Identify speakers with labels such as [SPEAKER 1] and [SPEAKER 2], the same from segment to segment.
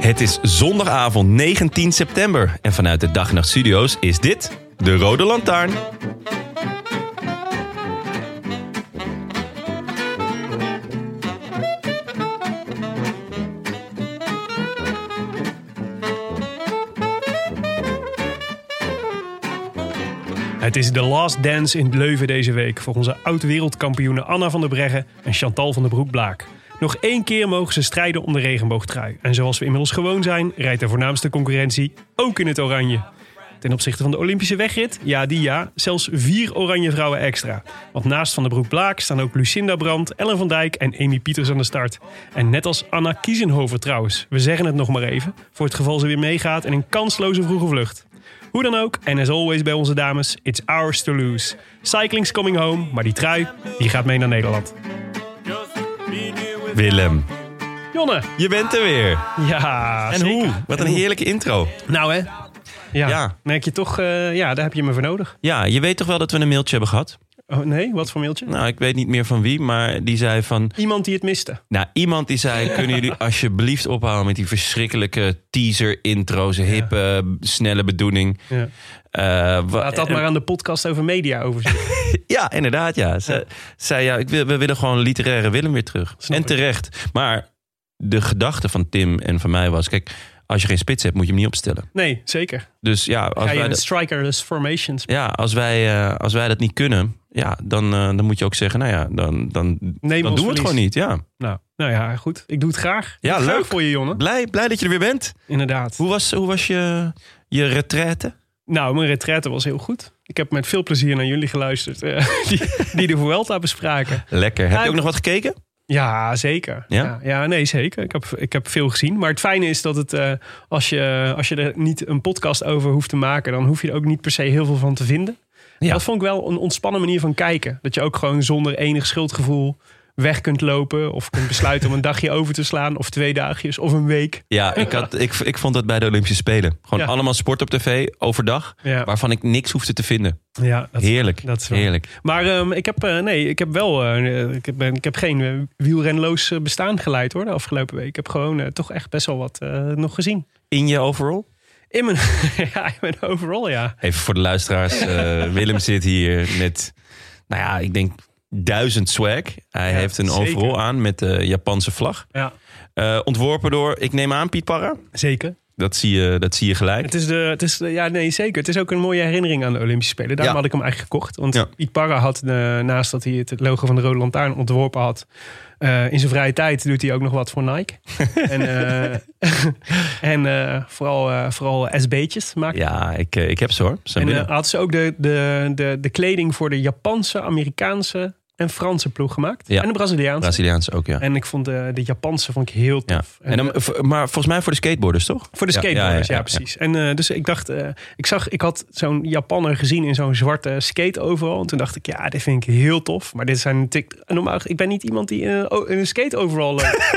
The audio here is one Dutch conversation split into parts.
[SPEAKER 1] Het is zondagavond 19 september en vanuit de Dag en Nacht Studio's is dit de Rode Lantaarn.
[SPEAKER 2] Het is de last dance in Leuven deze week voor onze oud-wereldkampioenen Anna van der Breggen en Chantal van der Broek-Blaak. Nog één keer mogen ze strijden om de regenboogtrui. En zoals we inmiddels gewoon zijn, rijdt de voornaamste concurrentie ook in het oranje. Ten opzichte van de Olympische wegrit, ja die ja, zelfs vier oranje vrouwen extra. Want naast Van der Broek-Blaak staan ook Lucinda Brandt, Ellen van Dijk en Amy Pieters aan de start. En net als Anna Kiezenhoven trouwens, we zeggen het nog maar even, voor het geval ze weer meegaat in een kansloze vroege vlucht. Hoe dan ook, en as always bij onze dames, it's ours to lose. Cycling's coming home, maar die trui, die gaat mee naar Nederland.
[SPEAKER 1] Willem,
[SPEAKER 2] Jonne,
[SPEAKER 1] je bent er weer.
[SPEAKER 2] ja,
[SPEAKER 1] En
[SPEAKER 2] zeker.
[SPEAKER 1] hoe? Wat een heerlijke intro.
[SPEAKER 2] Nou hè? Ja,
[SPEAKER 1] Ja.
[SPEAKER 2] merk je toch, eh, ja, daar heb je me voor nodig.
[SPEAKER 1] Ja, je weet toch wel dat we een mailtje hebben gehad?
[SPEAKER 2] Oh, nee, wat voor mailtje?
[SPEAKER 1] Nou, ik weet niet meer van wie, maar die zei van...
[SPEAKER 2] Iemand die het miste.
[SPEAKER 1] Nou, iemand die zei, kunnen jullie alsjeblieft ophouden met die verschrikkelijke teaser-intro's, hippe, snelle bedoeling.
[SPEAKER 2] Ja.
[SPEAKER 1] Eh, wa-
[SPEAKER 2] Laat dat maar aan de podcast over media over zitten.
[SPEAKER 1] Ja, inderdaad, ja. Ze, Zei, ja, ik wil, we willen gewoon literaire Willem weer terug.
[SPEAKER 2] Snap
[SPEAKER 1] en
[SPEAKER 2] ik.
[SPEAKER 1] terecht. Maar de gedachte van Tim en van mij was, kijk, als je geen spits hebt, moet je hem niet opstellen.
[SPEAKER 2] Nee, zeker.
[SPEAKER 1] Dus ja, als
[SPEAKER 2] Ga je
[SPEAKER 1] wij,
[SPEAKER 2] in
[SPEAKER 1] dat,
[SPEAKER 2] strikerless formations.
[SPEAKER 1] ja, als wij, eh, als wij dat niet kunnen, ja, dan, eh, dan moet je ook zeggen, nou ja, dan, dan,
[SPEAKER 2] Neem
[SPEAKER 1] dan doen we
[SPEAKER 2] ons
[SPEAKER 1] het
[SPEAKER 2] verlies.
[SPEAKER 1] gewoon niet. Ja.
[SPEAKER 2] Nou, nou ja, goed. Ik doe het graag. Ik
[SPEAKER 1] Ja,
[SPEAKER 2] doe het
[SPEAKER 1] leuk.
[SPEAKER 2] Graag voor je, Jonne.
[SPEAKER 1] Blij, blij dat je er weer bent.
[SPEAKER 2] Inderdaad.
[SPEAKER 1] Hoe was, hoe was je, je retraite?
[SPEAKER 2] Nou, mijn retraite was heel goed. Ik heb met veel plezier naar jullie geluisterd, eh, die, die de Vuelta bespraken.
[SPEAKER 1] Lekker. Heb
[SPEAKER 2] Ja,
[SPEAKER 1] je ook
[SPEAKER 2] ik-
[SPEAKER 1] nog wat gekeken?
[SPEAKER 2] Ja, zeker.
[SPEAKER 1] Ja?
[SPEAKER 2] ja, ja, nee, zeker. Ik heb, ik heb veel gezien. Maar het fijne is dat het, eh, als, je, als je er niet een podcast over hoeft te maken, dan hoef je er ook niet per se heel veel van te vinden.
[SPEAKER 1] Ja.
[SPEAKER 2] Dat vond ik wel een ontspannen manier van kijken. Dat je ook gewoon zonder enig schuldgevoel weg kunt lopen. Of kunt besluiten om een dagje over te slaan. Of twee dagjes. Of een week.
[SPEAKER 1] Ja, ik, had, ik, ik vond dat bij de Olympische Spelen. Gewoon
[SPEAKER 2] Ja.
[SPEAKER 1] allemaal sport op tv, overdag,
[SPEAKER 2] Ja.
[SPEAKER 1] waarvan ik niks hoefde te vinden.
[SPEAKER 2] Ja, dat,
[SPEAKER 1] Heerlijk.
[SPEAKER 2] dat is waar.
[SPEAKER 1] Heerlijk.
[SPEAKER 2] Maar ehm, ik, heb, eh, nee, ik heb wel. eh, ik, heb, ik heb geen eh, wielrenloos eh, bestaan geleid hoor de afgelopen week. Ik heb gewoon eh, toch echt best wel wat eh, nog gezien.
[SPEAKER 1] In je overall?
[SPEAKER 2] In mijn, ja, in mijn overall, ja.
[SPEAKER 1] Even voor de luisteraars. eh, Willem zit hier met, nou ja, ik denk duizend swag. Hij
[SPEAKER 2] Ja,
[SPEAKER 1] heeft een
[SPEAKER 2] zeker.
[SPEAKER 1] overall aan met de Japanse vlag.
[SPEAKER 2] Ja,
[SPEAKER 1] Eh, ontworpen door, ik neem aan, Piet Parra.
[SPEAKER 2] zeker.
[SPEAKER 1] Dat zie je, dat zie je gelijk.
[SPEAKER 2] Het is de, het is de- ja, nee, zeker. Het is ook een mooie herinnering aan de Olympische Spelen. Daarom
[SPEAKER 1] Ja.
[SPEAKER 2] had ik hem eigenlijk gekocht. Want
[SPEAKER 1] Ja.
[SPEAKER 2] Piet Parra had, eh, naast dat hij het logo van de Rode Lantaarn ontworpen had... eh, in zijn vrije tijd doet hij ook nog wat voor Nike. en eh, en eh, vooral, eh, vooral SB'tjes maakt
[SPEAKER 1] Ja, ik, eh, ik heb ze hoor. Zijn
[SPEAKER 2] En
[SPEAKER 1] binnen.
[SPEAKER 2] eh had ze ook de, de, de, de kleding voor de Japanse, Amerikaanse en Franse ploeg gemaakt.
[SPEAKER 1] Ja.
[SPEAKER 2] En de Braziliaanse.
[SPEAKER 1] Braziliaans ook, ja.
[SPEAKER 2] En ik vond eh, de, de Japanse vond ik heel
[SPEAKER 1] ja.
[SPEAKER 2] tof.
[SPEAKER 1] En dan,
[SPEAKER 2] eh,
[SPEAKER 1] v- maar volgens mij voor de skateboarders, toch?
[SPEAKER 2] voor de
[SPEAKER 1] Ja,
[SPEAKER 2] skateboarders, ja,
[SPEAKER 1] ja, ja, ja.
[SPEAKER 2] precies. En eh, dus ik dacht, eh, ik zag, ik had zo'n Japanner gezien in zo'n zwarte skate overal. En toen dacht ik, ja, dit vind ik heel tof. Maar dit zijn natuurlijk, eh, normaal, ik ben niet iemand die in een, o- in een skate overal loopt.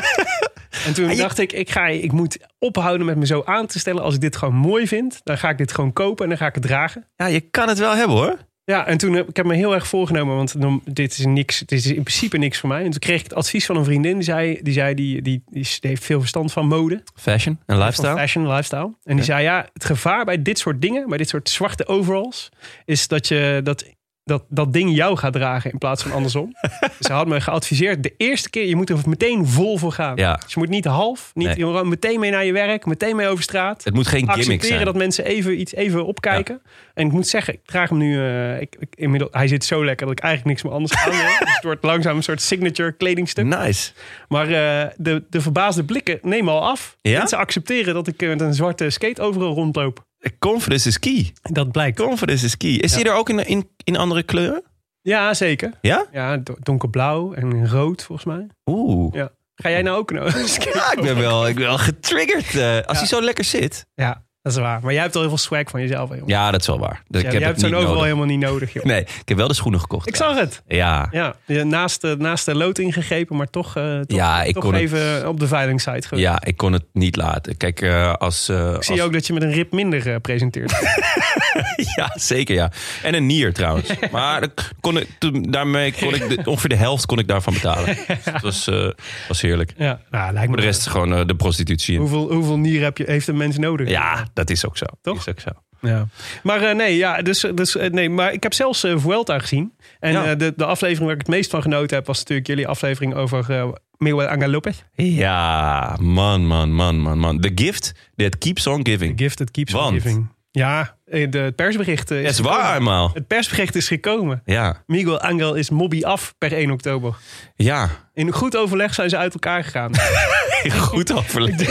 [SPEAKER 2] en
[SPEAKER 1] Ah,
[SPEAKER 2] toen dacht ik, ik, ga, ik moet ophouden met me zo aan te stellen. Als ik dit gewoon mooi vind, dan ga ik dit gewoon kopen en dan ga ik het dragen.
[SPEAKER 1] Ja, je kan het wel hebben hoor.
[SPEAKER 2] Ja, en toen heb ik heb me heel erg voorgenomen, want dan- dit is, niks, dit is in principe niks voor mij. En toen kreeg ik het advies van een vriendin, die zei, die, zei, die, die, die, is- die heeft veel verstand van mode,
[SPEAKER 1] Fashion en
[SPEAKER 2] van
[SPEAKER 1] lifestyle.
[SPEAKER 2] fashion, lifestyle. En die zei, ja, het gevaar bij dit soort dingen, bij dit soort zwarte overalls, is dat je dat dat, dat ding jou gaat dragen in plaats van andersom. Ze had me geadviseerd, de eerste keer, je moet er meteen vol voor gaan.
[SPEAKER 1] Ja.
[SPEAKER 2] Dus je moet niet half, niet
[SPEAKER 1] Nee.
[SPEAKER 2] je moet meteen mee naar je werk, meteen mee over straat.
[SPEAKER 1] Het moet geen gimmick
[SPEAKER 2] Accepteren
[SPEAKER 1] zijn.
[SPEAKER 2] dat mensen even iets even opkijken. En ik moet zeggen, ik draag hem nu. eh, ik, ik- inmiddels, hij zit zo lekker dat ik eigenlijk niks meer anders aan wil. Dus het wordt langzaam een soort signature kledingstuk.
[SPEAKER 1] Nice.
[SPEAKER 2] Maar eh, de, de verbaasde blikken nemen al af.
[SPEAKER 1] Ja?
[SPEAKER 2] Mensen accepteren dat ik eh, met een zwarte skate overal rondloop.
[SPEAKER 1] Confidence is key.
[SPEAKER 2] Dat blijkt.
[SPEAKER 1] Confidence is key. Is die er ook in, in, in andere kleuren?
[SPEAKER 2] Ja, zeker.
[SPEAKER 1] Ja?
[SPEAKER 2] Ja, do- donkerblauw en rood volgens mij.
[SPEAKER 1] Oeh.
[SPEAKER 2] Ja. Ga jij nou ook een skate?
[SPEAKER 1] Ja, ik ben wel, ik ben wel getriggerd. eh, als hij zo lekker zit.
[SPEAKER 2] Ja, dat is waar. Maar jij hebt al heel veel swag van jezelf. Hè, jongen.
[SPEAKER 1] Ja, dat is wel waar. Dus ik
[SPEAKER 2] jij
[SPEAKER 1] heb het
[SPEAKER 2] hebt zo'n
[SPEAKER 1] niet
[SPEAKER 2] overal
[SPEAKER 1] nodig.
[SPEAKER 2] helemaal niet nodig, joh.
[SPEAKER 1] Nee, ik heb wel de schoenen gekocht.
[SPEAKER 2] Ik
[SPEAKER 1] ja.
[SPEAKER 2] zag het.
[SPEAKER 1] Ja.
[SPEAKER 2] Ja, je naast, de- naast de lood ingegrepen, maar toch, eh, toch,
[SPEAKER 1] Ja, ik
[SPEAKER 2] toch
[SPEAKER 1] kon het-
[SPEAKER 2] even op de veilingsite. site.
[SPEAKER 1] ja, ik kon het niet laten. Kijk, eh, als... eh,
[SPEAKER 2] Ik
[SPEAKER 1] als-
[SPEAKER 2] zie ook dat je met een rib minder eh, presenteert.
[SPEAKER 1] Ja, zeker ja. En een nier trouwens. Maar dat kon ik, toen- daarmee kon ik de- ongeveer de helft kon ik daarvan betalen. Dus dat was, eh, was heerlijk.
[SPEAKER 2] ja, nou, lijkt me
[SPEAKER 1] Voor de rest is gewoon eh, de prostitutie. in.
[SPEAKER 2] Hoeveel, hoeveel nier heb je, heeft een mens nodig?
[SPEAKER 1] Ja, dat is ook zo.
[SPEAKER 2] Toch?
[SPEAKER 1] Is ook zo.
[SPEAKER 2] Ja. Maar eh, nee, ja, dus, dus, eh, nee, maar ik heb zelfs eh, Vuelta gezien. En
[SPEAKER 1] Ja.
[SPEAKER 2] eh, de, de aflevering waar ik het meest van genoten heb, was natuurlijk jullie aflevering over eh Miguel Angel Lopez.
[SPEAKER 1] Ja, man, man, man, man, man. The gift that keeps on giving.
[SPEAKER 2] Gift that keeps
[SPEAKER 1] on Want? giving.
[SPEAKER 2] Ja, eh, de, het persbericht eh, is
[SPEAKER 1] Dat is
[SPEAKER 2] gekomen.
[SPEAKER 1] waar, maal.
[SPEAKER 2] Het persbericht is gekomen.
[SPEAKER 1] Ja,
[SPEAKER 2] Miguel Angel is mobby af per 1 oktober.
[SPEAKER 1] ja.
[SPEAKER 2] In goed overleg zijn ze uit elkaar gegaan.
[SPEAKER 1] Goed overleg.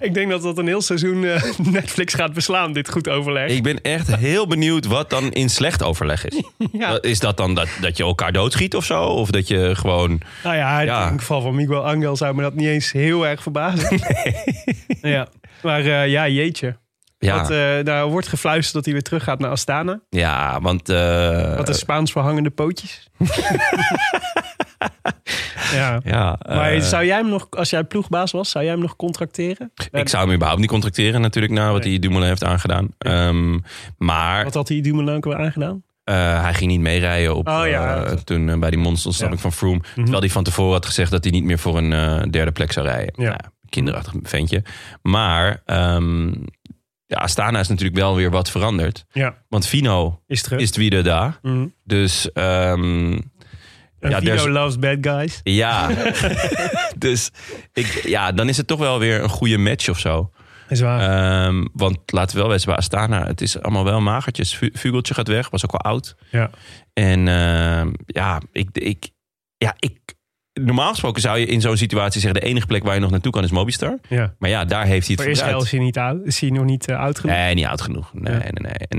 [SPEAKER 2] ik denk dat dat een heel seizoen eh, Netflix gaat beslaan, dit goed overleg.
[SPEAKER 1] Ik ben echt heel benieuwd wat dan in slecht overleg is.
[SPEAKER 2] Ja.
[SPEAKER 1] Is dat dan dat, dat je elkaar doodschiet of zo? Of dat je gewoon...
[SPEAKER 2] Nou ja,
[SPEAKER 1] Ja.
[SPEAKER 2] in het geval van Miguel Angel zou me dat niet eens heel erg verbazen. ja. Maar eh, ja, jeetje.
[SPEAKER 1] Ja,
[SPEAKER 2] Want, eh, daar wordt gefluisterd dat hij weer terug gaat naar Astana.
[SPEAKER 1] ja want... eh,
[SPEAKER 2] Dat is Spaans voor hangende pootjes. ja.
[SPEAKER 1] Ja,
[SPEAKER 2] Maar
[SPEAKER 1] eh,
[SPEAKER 2] zou jij hem nog, als jij ploegbaas was, zou jij hem nog contracteren?
[SPEAKER 1] ik zou hem überhaupt niet contracteren natuurlijk na wat
[SPEAKER 2] Nee.
[SPEAKER 1] hij Dumoulin heeft aangedaan. Ehm, maar
[SPEAKER 2] Wat had hij Dumoulin ook weer aangedaan?
[SPEAKER 1] eh, hij ging niet meerijden op,
[SPEAKER 2] Oh, ja. Mhm.
[SPEAKER 1] eh, toen eh, bij die monsterontsnapping van Froome. Terwijl hij van tevoren had gezegd dat hij niet meer voor een eh, derde plek zou rijden.
[SPEAKER 2] Ja.
[SPEAKER 1] Nou, kinderachtig ventje. Maar ehm ja, Astana is natuurlijk wel weer wat veranderd.
[SPEAKER 2] Ja,
[SPEAKER 1] Want Vino
[SPEAKER 2] is terug.
[SPEAKER 1] is wie daar.
[SPEAKER 2] Mhm.
[SPEAKER 1] Dus ehm,
[SPEAKER 2] En
[SPEAKER 1] ja, dus-
[SPEAKER 2] Vino
[SPEAKER 1] there's-
[SPEAKER 2] loves bad guys.
[SPEAKER 1] ja. dus ik, ja, dan is het toch wel weer een goede match of zo.
[SPEAKER 2] Is waar.
[SPEAKER 1] Ehm, want laten we wel wezen bij Astana. Het is allemaal wel magertjes. Vu- Vugeltje gaat weg, was ook al oud.
[SPEAKER 2] ja.
[SPEAKER 1] En ehm, ja, ik, ik, ja, ik. Normaal gesproken zou je in zo'n situatie zeggen: de enige plek waar je nog naartoe kan is Mobistar.
[SPEAKER 2] ja.
[SPEAKER 1] Maar ja, daar heeft hij
[SPEAKER 2] Voor
[SPEAKER 1] het voor
[SPEAKER 2] Israël is
[SPEAKER 1] uit.
[SPEAKER 2] hij, niet oud, is hij nog niet eh, oud genoeg.
[SPEAKER 1] Nee, niet oud genoeg. Nee,
[SPEAKER 2] Ja.
[SPEAKER 1] nee, nee. En,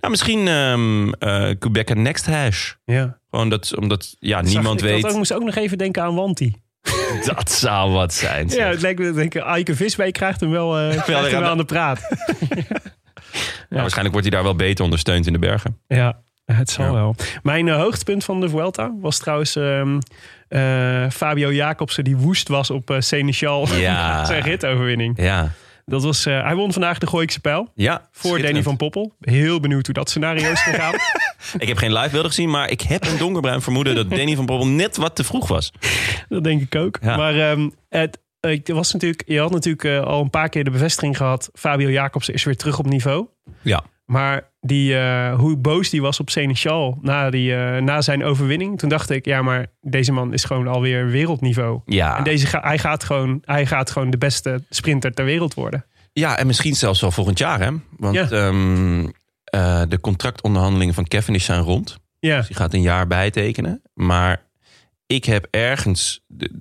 [SPEAKER 1] nou, misschien ehm eh Quebec Next Hash.
[SPEAKER 2] Ja.
[SPEAKER 1] Gewoon dat, omdat ja,
[SPEAKER 2] Zag
[SPEAKER 1] niemand
[SPEAKER 2] ik dat
[SPEAKER 1] weet.
[SPEAKER 2] ook,
[SPEAKER 1] Dat,
[SPEAKER 2] moest ook nog even denken aan Wanti.
[SPEAKER 1] zou wat zijn.
[SPEAKER 2] Ja,
[SPEAKER 1] zeg.
[SPEAKER 2] het lijkt me dat Eike Visbeek krijgt hem wel, eh, krijgt hem
[SPEAKER 1] aan
[SPEAKER 2] wel
[SPEAKER 1] de-
[SPEAKER 2] aan de praat.
[SPEAKER 1] Nou, waarschijnlijk wordt hij daar wel beter ondersteund in de bergen.
[SPEAKER 2] Ja, het zal
[SPEAKER 1] Ja.
[SPEAKER 2] wel. Mijn eh, hoogtepunt van de Vuelta was trouwens ehm, eh, Fabio Jacobsen die woest was op eh Seneschal.
[SPEAKER 1] Ja.
[SPEAKER 2] Zijn ritoverwinning.
[SPEAKER 1] Ja,
[SPEAKER 2] Dat was, eh, hij won vandaag de Gooikse Pijl.
[SPEAKER 1] ja
[SPEAKER 2] Voor Danny
[SPEAKER 1] schitterend.
[SPEAKER 2] van Poppel. Heel benieuwd hoe dat scenario is gegaan.
[SPEAKER 1] Ik heb geen live beelden gezien, maar ik heb een donkerbruin vermoeden dat Danny van Poppel net wat te vroeg was.
[SPEAKER 2] Dat denk ik ook.
[SPEAKER 1] Ja.
[SPEAKER 2] Maar ehm, het, ik was natuurlijk, je had natuurlijk eh, al een paar keer de bevestiging gehad. Fabio Jacobsen is weer terug op niveau.
[SPEAKER 1] Ja.
[SPEAKER 2] Maar die, eh, hoe boos die was op Seneschal na, die, eh, na zijn overwinning. Toen dacht ik, ja, maar deze man is gewoon alweer wereldniveau.
[SPEAKER 1] Ja.
[SPEAKER 2] En
[SPEAKER 1] En
[SPEAKER 2] deze ga- hij, gaat gewoon, hij gaat gewoon de beste sprinter ter wereld worden.
[SPEAKER 1] ja, en misschien zelfs wel volgend jaar, hè? Want
[SPEAKER 2] Ja.
[SPEAKER 1] ehm, eh, de contractonderhandelingen van Cavendish zijn rond. Dus
[SPEAKER 2] Ja,
[SPEAKER 1] die gaat een jaar bijtekenen. Maar ik heb ergens de-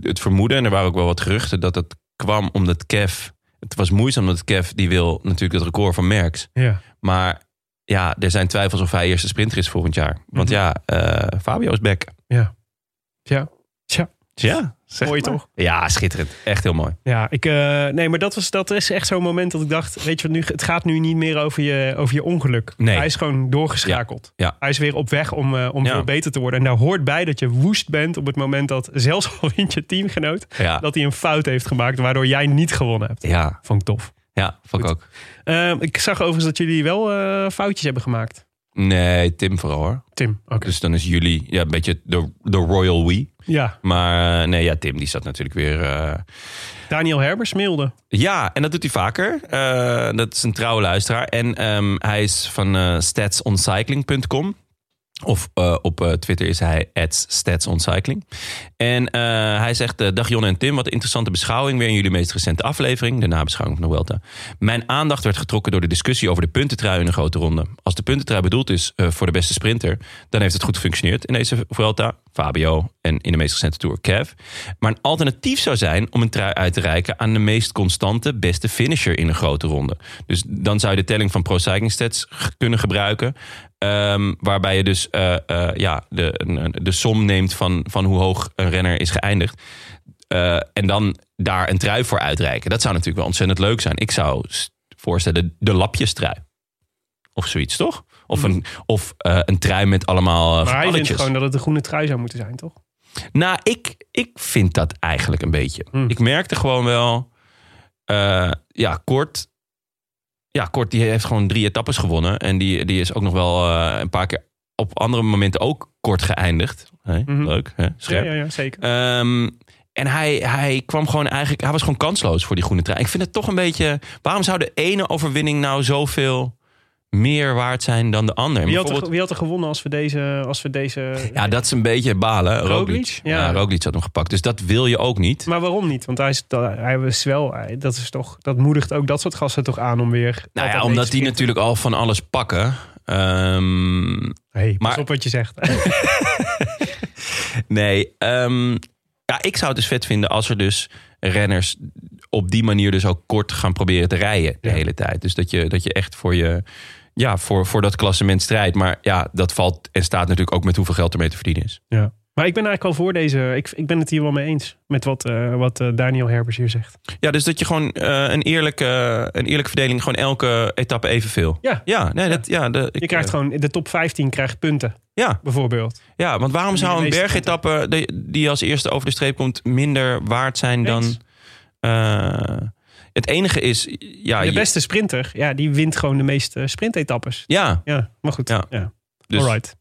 [SPEAKER 1] het vermoeden, en er waren ook wel wat geruchten, dat het kwam omdat Kev... Het was moeizaam omdat Kev, die wil natuurlijk het record van Merckx.
[SPEAKER 2] ja.
[SPEAKER 1] Maar ja, er zijn twijfels of hij eerste sprinter is volgend jaar. Want
[SPEAKER 2] Mhm.
[SPEAKER 1] ja, eh, Fabio is back.
[SPEAKER 2] Ja. Tja. Tja.
[SPEAKER 1] Ja, zeg
[SPEAKER 2] Mooi
[SPEAKER 1] maar.
[SPEAKER 2] toch?
[SPEAKER 1] Ja, schitterend. Echt heel mooi.
[SPEAKER 2] ja ik, eh, nee, maar dat, was, dat is echt zo'n moment dat ik dacht, weet je wat, nu, het gaat nu niet meer over je, over je ongeluk.
[SPEAKER 1] Nee.
[SPEAKER 2] Hij is gewoon doorgeschakeld.
[SPEAKER 1] Ja, ja.
[SPEAKER 2] Hij is weer op weg om, eh, om
[SPEAKER 1] Ja.
[SPEAKER 2] veel beter te worden. En daar hoort bij dat je woest bent op het moment dat, zelfs al wint je teamgenoot,
[SPEAKER 1] Ja,
[SPEAKER 2] dat hij een fout heeft gemaakt waardoor jij niet gewonnen hebt.
[SPEAKER 1] ja,
[SPEAKER 2] Vond ik tof.
[SPEAKER 1] ja vond ik
[SPEAKER 2] Goed.
[SPEAKER 1] ook.
[SPEAKER 2] Eh, ik zag overigens dat jullie wel eh, foutjes hebben gemaakt.
[SPEAKER 1] Nee, Tim vooral hoor.
[SPEAKER 2] Tim, oké.
[SPEAKER 1] Dus dan is jullie ja, een beetje de, de Royal We.
[SPEAKER 2] Ja,
[SPEAKER 1] Maar eh, nee, ja, Tim die zat natuurlijk weer... eh,
[SPEAKER 2] Daniel Herbers mailde.
[SPEAKER 1] Ja, en dat doet hij vaker. Eh, dat is een trouwe luisteraar. En ehm, hij is van eh statsoncycling.com. Of eh, op eh, Twitter is hij @statsoncycling. En eh, hij zegt: eh, Dag Jon en Tim, wat een interessante beschouwing weer in jullie meest recente aflevering, de nabeschouwing van de Welta. Mijn aandacht werd getrokken door de discussie over de puntentrui in de grote ronde. Als de puntentrui bedoeld is eh, voor de beste sprinter, dan heeft het goed gefunctioneerd in deze Vuelta, Fabio en in de meest recente tour Kev. Maar een alternatief zou zijn om een trui uit te reiken aan de meest constante beste finisher in een grote ronde. Dus dan zou je de telling van Pro Cycling Stats g- kunnen gebruiken. Ehm, waarbij je dus eh, eh, ja, de, een- een- de som neemt van, van hoe hoog een renner is geëindigd. Eh, en dan daar een trui voor uitreiken. Dat zou natuurlijk wel ontzettend leuk zijn. Ik zou s- voorstellen de lapjestrui. Of zoiets, toch? Of een, of, eh, een trui met allemaal eh,
[SPEAKER 2] Hmm. Maar hij vindt
[SPEAKER 1] getalletjes.
[SPEAKER 2] gewoon dat het een groene trui zou moeten zijn, toch?
[SPEAKER 1] Nou, ik, ik vind dat eigenlijk een beetje.
[SPEAKER 2] Hmm.
[SPEAKER 1] Ik merkte gewoon wel... eh, ja, Kort... Ja, Kort die heeft gewoon drie etappes gewonnen. En die, die is ook nog wel eh, een paar keer op andere momenten ook kort geëindigd. Hé,
[SPEAKER 2] Mhm.
[SPEAKER 1] Leuk, hè? scherp.
[SPEAKER 2] Ja, ja, ja, zeker.
[SPEAKER 1] Ehm, en hij, hij kwam gewoon eigenlijk... Hij was gewoon kansloos voor die groene trein. Ik vind het toch een beetje... Waarom zou de ene overwinning nou zoveel meer waard zijn dan de ander?
[SPEAKER 2] Wie had,
[SPEAKER 1] Bijvoorbeeld-
[SPEAKER 2] er, wie had er gewonnen als we deze... Als we deze...
[SPEAKER 1] ja, dat is een beetje balen. Roglic.
[SPEAKER 2] Roglic?
[SPEAKER 1] Ja.
[SPEAKER 2] Ja.
[SPEAKER 1] Roglic had hem gepakt. Dus dat wil je ook niet.
[SPEAKER 2] Maar waarom niet? Want hij is, hij is wel... hij- dat, is toch, dat moedigt ook dat soort gasten toch aan om weer...
[SPEAKER 1] Nou ja,
[SPEAKER 2] altijd
[SPEAKER 1] omdat
[SPEAKER 2] deze
[SPEAKER 1] die
[SPEAKER 2] keer-
[SPEAKER 1] natuurlijk al van alles pakken. Ehm,
[SPEAKER 2] Hey, pas
[SPEAKER 1] maar-
[SPEAKER 2] op wat je zegt.
[SPEAKER 1] nee, ehm, ja, ik zou het dus vet vinden als er dus renners op die manier dus ook kort gaan proberen te rijden de
[SPEAKER 2] Ja.
[SPEAKER 1] hele tijd. Dus dat je, dat je echt voor je, ja, voor, voor dat klassement strijdt. Maar ja, dat valt en staat natuurlijk ook met hoeveel geld ermee te verdienen is.
[SPEAKER 2] Ja. Maar ik ben eigenlijk al voor deze... Ik, ik ben het hier wel mee eens. Met wat, eh, wat eh, Daniel Herbers hier zegt.
[SPEAKER 1] Ja, dus dat je gewoon eh, een, eerlijke, een eerlijke verdeling, gewoon elke etappe evenveel.
[SPEAKER 2] Ja.
[SPEAKER 1] Ja, nee, dat, ja, de, eh,
[SPEAKER 2] Je krijgt gewoon... De top 15 krijgt punten,
[SPEAKER 1] Ja,
[SPEAKER 2] bijvoorbeeld.
[SPEAKER 1] Ja, want waarom
[SPEAKER 2] In de
[SPEAKER 1] zou een
[SPEAKER 2] meeste
[SPEAKER 1] bergetappe die- die als eerste over de streep komt minder waard zijn
[SPEAKER 2] Eens.
[SPEAKER 1] dan... eh, het enige is... Ja,
[SPEAKER 2] de
[SPEAKER 1] je-
[SPEAKER 2] beste sprinter, ja, die wint gewoon de meeste sprintetappes.
[SPEAKER 1] ja
[SPEAKER 2] Ja, maar goed.
[SPEAKER 1] Ja.
[SPEAKER 2] Ja.
[SPEAKER 1] dus,
[SPEAKER 2] Alright.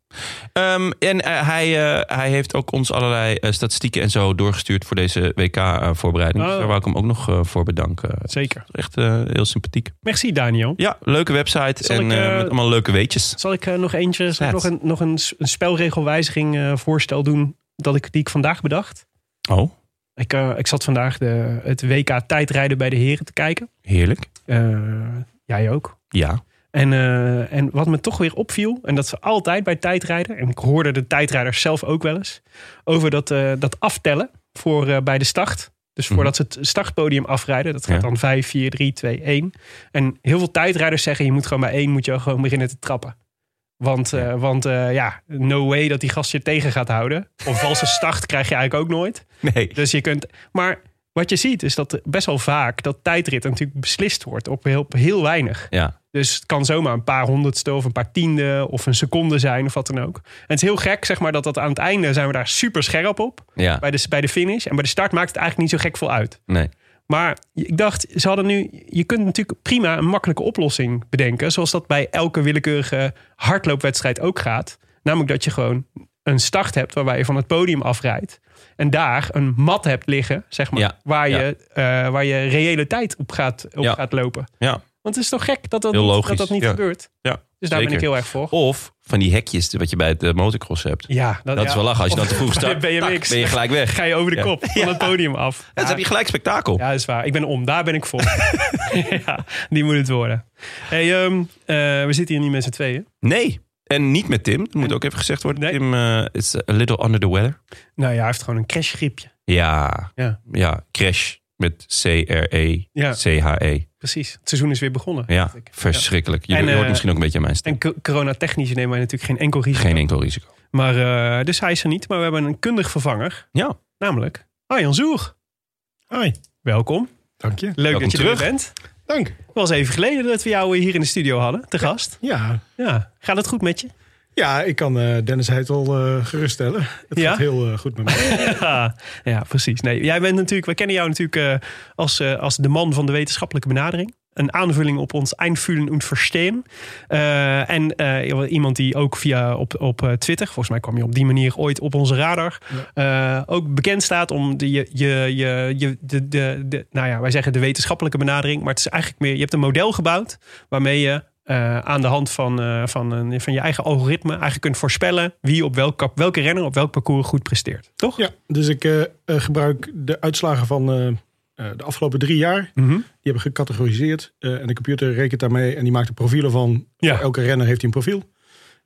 [SPEAKER 1] ehm, en eh, hij, eh, hij heeft ook ons allerlei eh, statistieken en zo doorgestuurd voor deze WK-voorbereiding. Dus
[SPEAKER 2] Oh.
[SPEAKER 1] daar wou ik hem ook nog eh, voor bedanken. Het
[SPEAKER 2] Zeker.
[SPEAKER 1] is echt eh, heel sympathiek.
[SPEAKER 2] Merci, Daniel.
[SPEAKER 1] Ja, leuke website
[SPEAKER 2] Zal
[SPEAKER 1] en
[SPEAKER 2] ik,
[SPEAKER 1] eh,
[SPEAKER 2] eh,
[SPEAKER 1] met allemaal leuke weetjes.
[SPEAKER 2] Zal ik eh, nog eentje, zal ik nog
[SPEAKER 1] Zet.
[SPEAKER 2] een, nog een, s- een spelregelwijziging eh, voorstel doen dat ik, die ik vandaag bedacht?
[SPEAKER 1] Oh,
[SPEAKER 2] Ik, eh, ik zat vandaag de, het WK tijdrijden bij de heren te kijken.
[SPEAKER 1] heerlijk.
[SPEAKER 2] Eh, jij ook.
[SPEAKER 1] Ja.
[SPEAKER 2] En, eh, en wat me toch weer opviel, en dat ze altijd bij tijdrijden, en ik hoorde de tijdrijders zelf ook wel eens, over dat, eh, dat aftellen voor, eh, bij de start. Dus
[SPEAKER 1] Mhm.
[SPEAKER 2] voordat ze het startpodium afrijden, dat gaat
[SPEAKER 1] Ja.
[SPEAKER 2] dan 5, 4, 3, 2, 1. En heel veel tijdrijders zeggen, je moet gewoon bij 1 moet je gewoon beginnen te trappen. Want, eh, want eh, ja, no way dat die gast je tegen gaat houden. Of valse start krijg je eigenlijk ook nooit.
[SPEAKER 1] Nee.
[SPEAKER 2] Dus je kunt. Maar wat je ziet is dat best wel vaak dat tijdrit natuurlijk beslist wordt op heel, op heel weinig.
[SPEAKER 1] Ja.
[SPEAKER 2] Dus het kan zomaar een paar honderdste of een paar tiende of een seconde zijn of wat dan ook. En het is heel gek, zeg maar, dat, dat aan het einde zijn we daar super scherp op.
[SPEAKER 1] Ja.
[SPEAKER 2] Bij de, bij de finish. En bij de start maakt het eigenlijk niet zo gek veel uit.
[SPEAKER 1] Nee.
[SPEAKER 2] Maar ik dacht, ze hadden nu. Je kunt natuurlijk prima een makkelijke oplossing bedenken. Zoals dat bij elke willekeurige hardloopwedstrijd ook gaat. Namelijk dat je gewoon een start hebt waarbij je van het podium afrijdt. En daar een mat hebt liggen, zeg maar.
[SPEAKER 1] Ja,
[SPEAKER 2] Waar,
[SPEAKER 1] ja.
[SPEAKER 2] je, eh, waar je reële tijd op gaat, op
[SPEAKER 1] Ja.
[SPEAKER 2] gaat lopen.
[SPEAKER 1] Ja.
[SPEAKER 2] Want het is toch gek dat dat
[SPEAKER 1] Heel
[SPEAKER 2] niet,
[SPEAKER 1] logisch,
[SPEAKER 2] Dat dat niet
[SPEAKER 1] ja.
[SPEAKER 2] gebeurt.
[SPEAKER 1] Ja.
[SPEAKER 2] Dus daar ben ik
[SPEAKER 1] Zeker.
[SPEAKER 2] heel erg voor.
[SPEAKER 1] Of van die hekjes wat je bij het eh, motocross hebt.
[SPEAKER 2] Ja,
[SPEAKER 1] Dat is wel lachen. Als je dan te vroeg start,
[SPEAKER 2] staat. Ben je
[SPEAKER 1] tak,
[SPEAKER 2] niks.
[SPEAKER 1] ben je gelijk weg.
[SPEAKER 2] Ga je over de
[SPEAKER 1] Ja.
[SPEAKER 2] kop van het podium af.
[SPEAKER 1] Ja,
[SPEAKER 2] Ja.
[SPEAKER 1] dan heb je gelijk spektakel.
[SPEAKER 2] Ja, dat is waar. Ik ben om. Daar ben ik voor. ja, die moet het worden. Hey, ehm, eh, we zitten hier niet met z'n tweeën.
[SPEAKER 1] Nee. En niet met Tim. Dat moet ook even gezegd worden.
[SPEAKER 2] Nee.
[SPEAKER 1] Tim eh, is a little under the weather.
[SPEAKER 2] Nou ja, hij heeft gewoon een crashgriepje.
[SPEAKER 1] Ja.
[SPEAKER 2] Ja.
[SPEAKER 1] Crash. Met E, C-R-E.
[SPEAKER 2] Ja.
[SPEAKER 1] C-H-E.
[SPEAKER 2] Precies. Het seizoen is weer begonnen.
[SPEAKER 1] Ja.
[SPEAKER 2] dacht ik.
[SPEAKER 1] Verschrikkelijk. Je
[SPEAKER 2] En,
[SPEAKER 1] hoort
[SPEAKER 2] eh,
[SPEAKER 1] misschien ook een beetje aan mijn stem.
[SPEAKER 2] En co- coronatechnisch nemen wij natuurlijk geen enkel risico.
[SPEAKER 1] Geen enkel risico.
[SPEAKER 2] Maar, eh, dus hij is er niet. Maar we hebben een kundig vervanger.
[SPEAKER 1] Ja.
[SPEAKER 2] Namelijk Arjan Zoer.
[SPEAKER 3] Hoi,
[SPEAKER 2] Welkom.
[SPEAKER 3] dank je.
[SPEAKER 2] Leuk dat je
[SPEAKER 1] terug.
[SPEAKER 2] er weer bent.
[SPEAKER 3] Dank.
[SPEAKER 2] Het was even geleden dat we jou hier in de studio hadden. Te gast.
[SPEAKER 3] Ja,
[SPEAKER 2] Ja. Gaat het goed met je?
[SPEAKER 3] ja ik kan eh, Dennis Heitel eh, geruststellen. Het
[SPEAKER 2] Ja?
[SPEAKER 3] gaat heel eh, goed met mij.
[SPEAKER 2] Ja, ja, precies. Nee, jij bent natuurlijk, we kennen jou natuurlijk eh, als, eh, als de man van de wetenschappelijke benadering. Een aanvulling op ons Einfühlen und Verstehen. Eh, en eh, iemand die ook via op, op eh, Twitter, volgens mij kwam je op die manier ooit op onze radar. eh, ook bekend staat om de, je, je, je, je- de, de, de, nou ja, wij zeggen de wetenschappelijke benadering. Maar het is eigenlijk meer, je hebt een model gebouwd waarmee je eh, eh, aan de hand van, eh, van, een, van je eigen algoritme eigenlijk kunt voorspellen wie op welk, kap- welke renner op welk parcours goed presteert. Toch?
[SPEAKER 3] Ja, dus ik eh, eh, gebruik de uitslagen van eh, eh, de afgelopen drie jaar.
[SPEAKER 2] Mhm.
[SPEAKER 3] Die heb ik gecategoriseerd. eh, en de computer rekent daarmee en die maakt de profielen van.
[SPEAKER 2] Ja.
[SPEAKER 3] Voor elke renner heeft hij een profiel.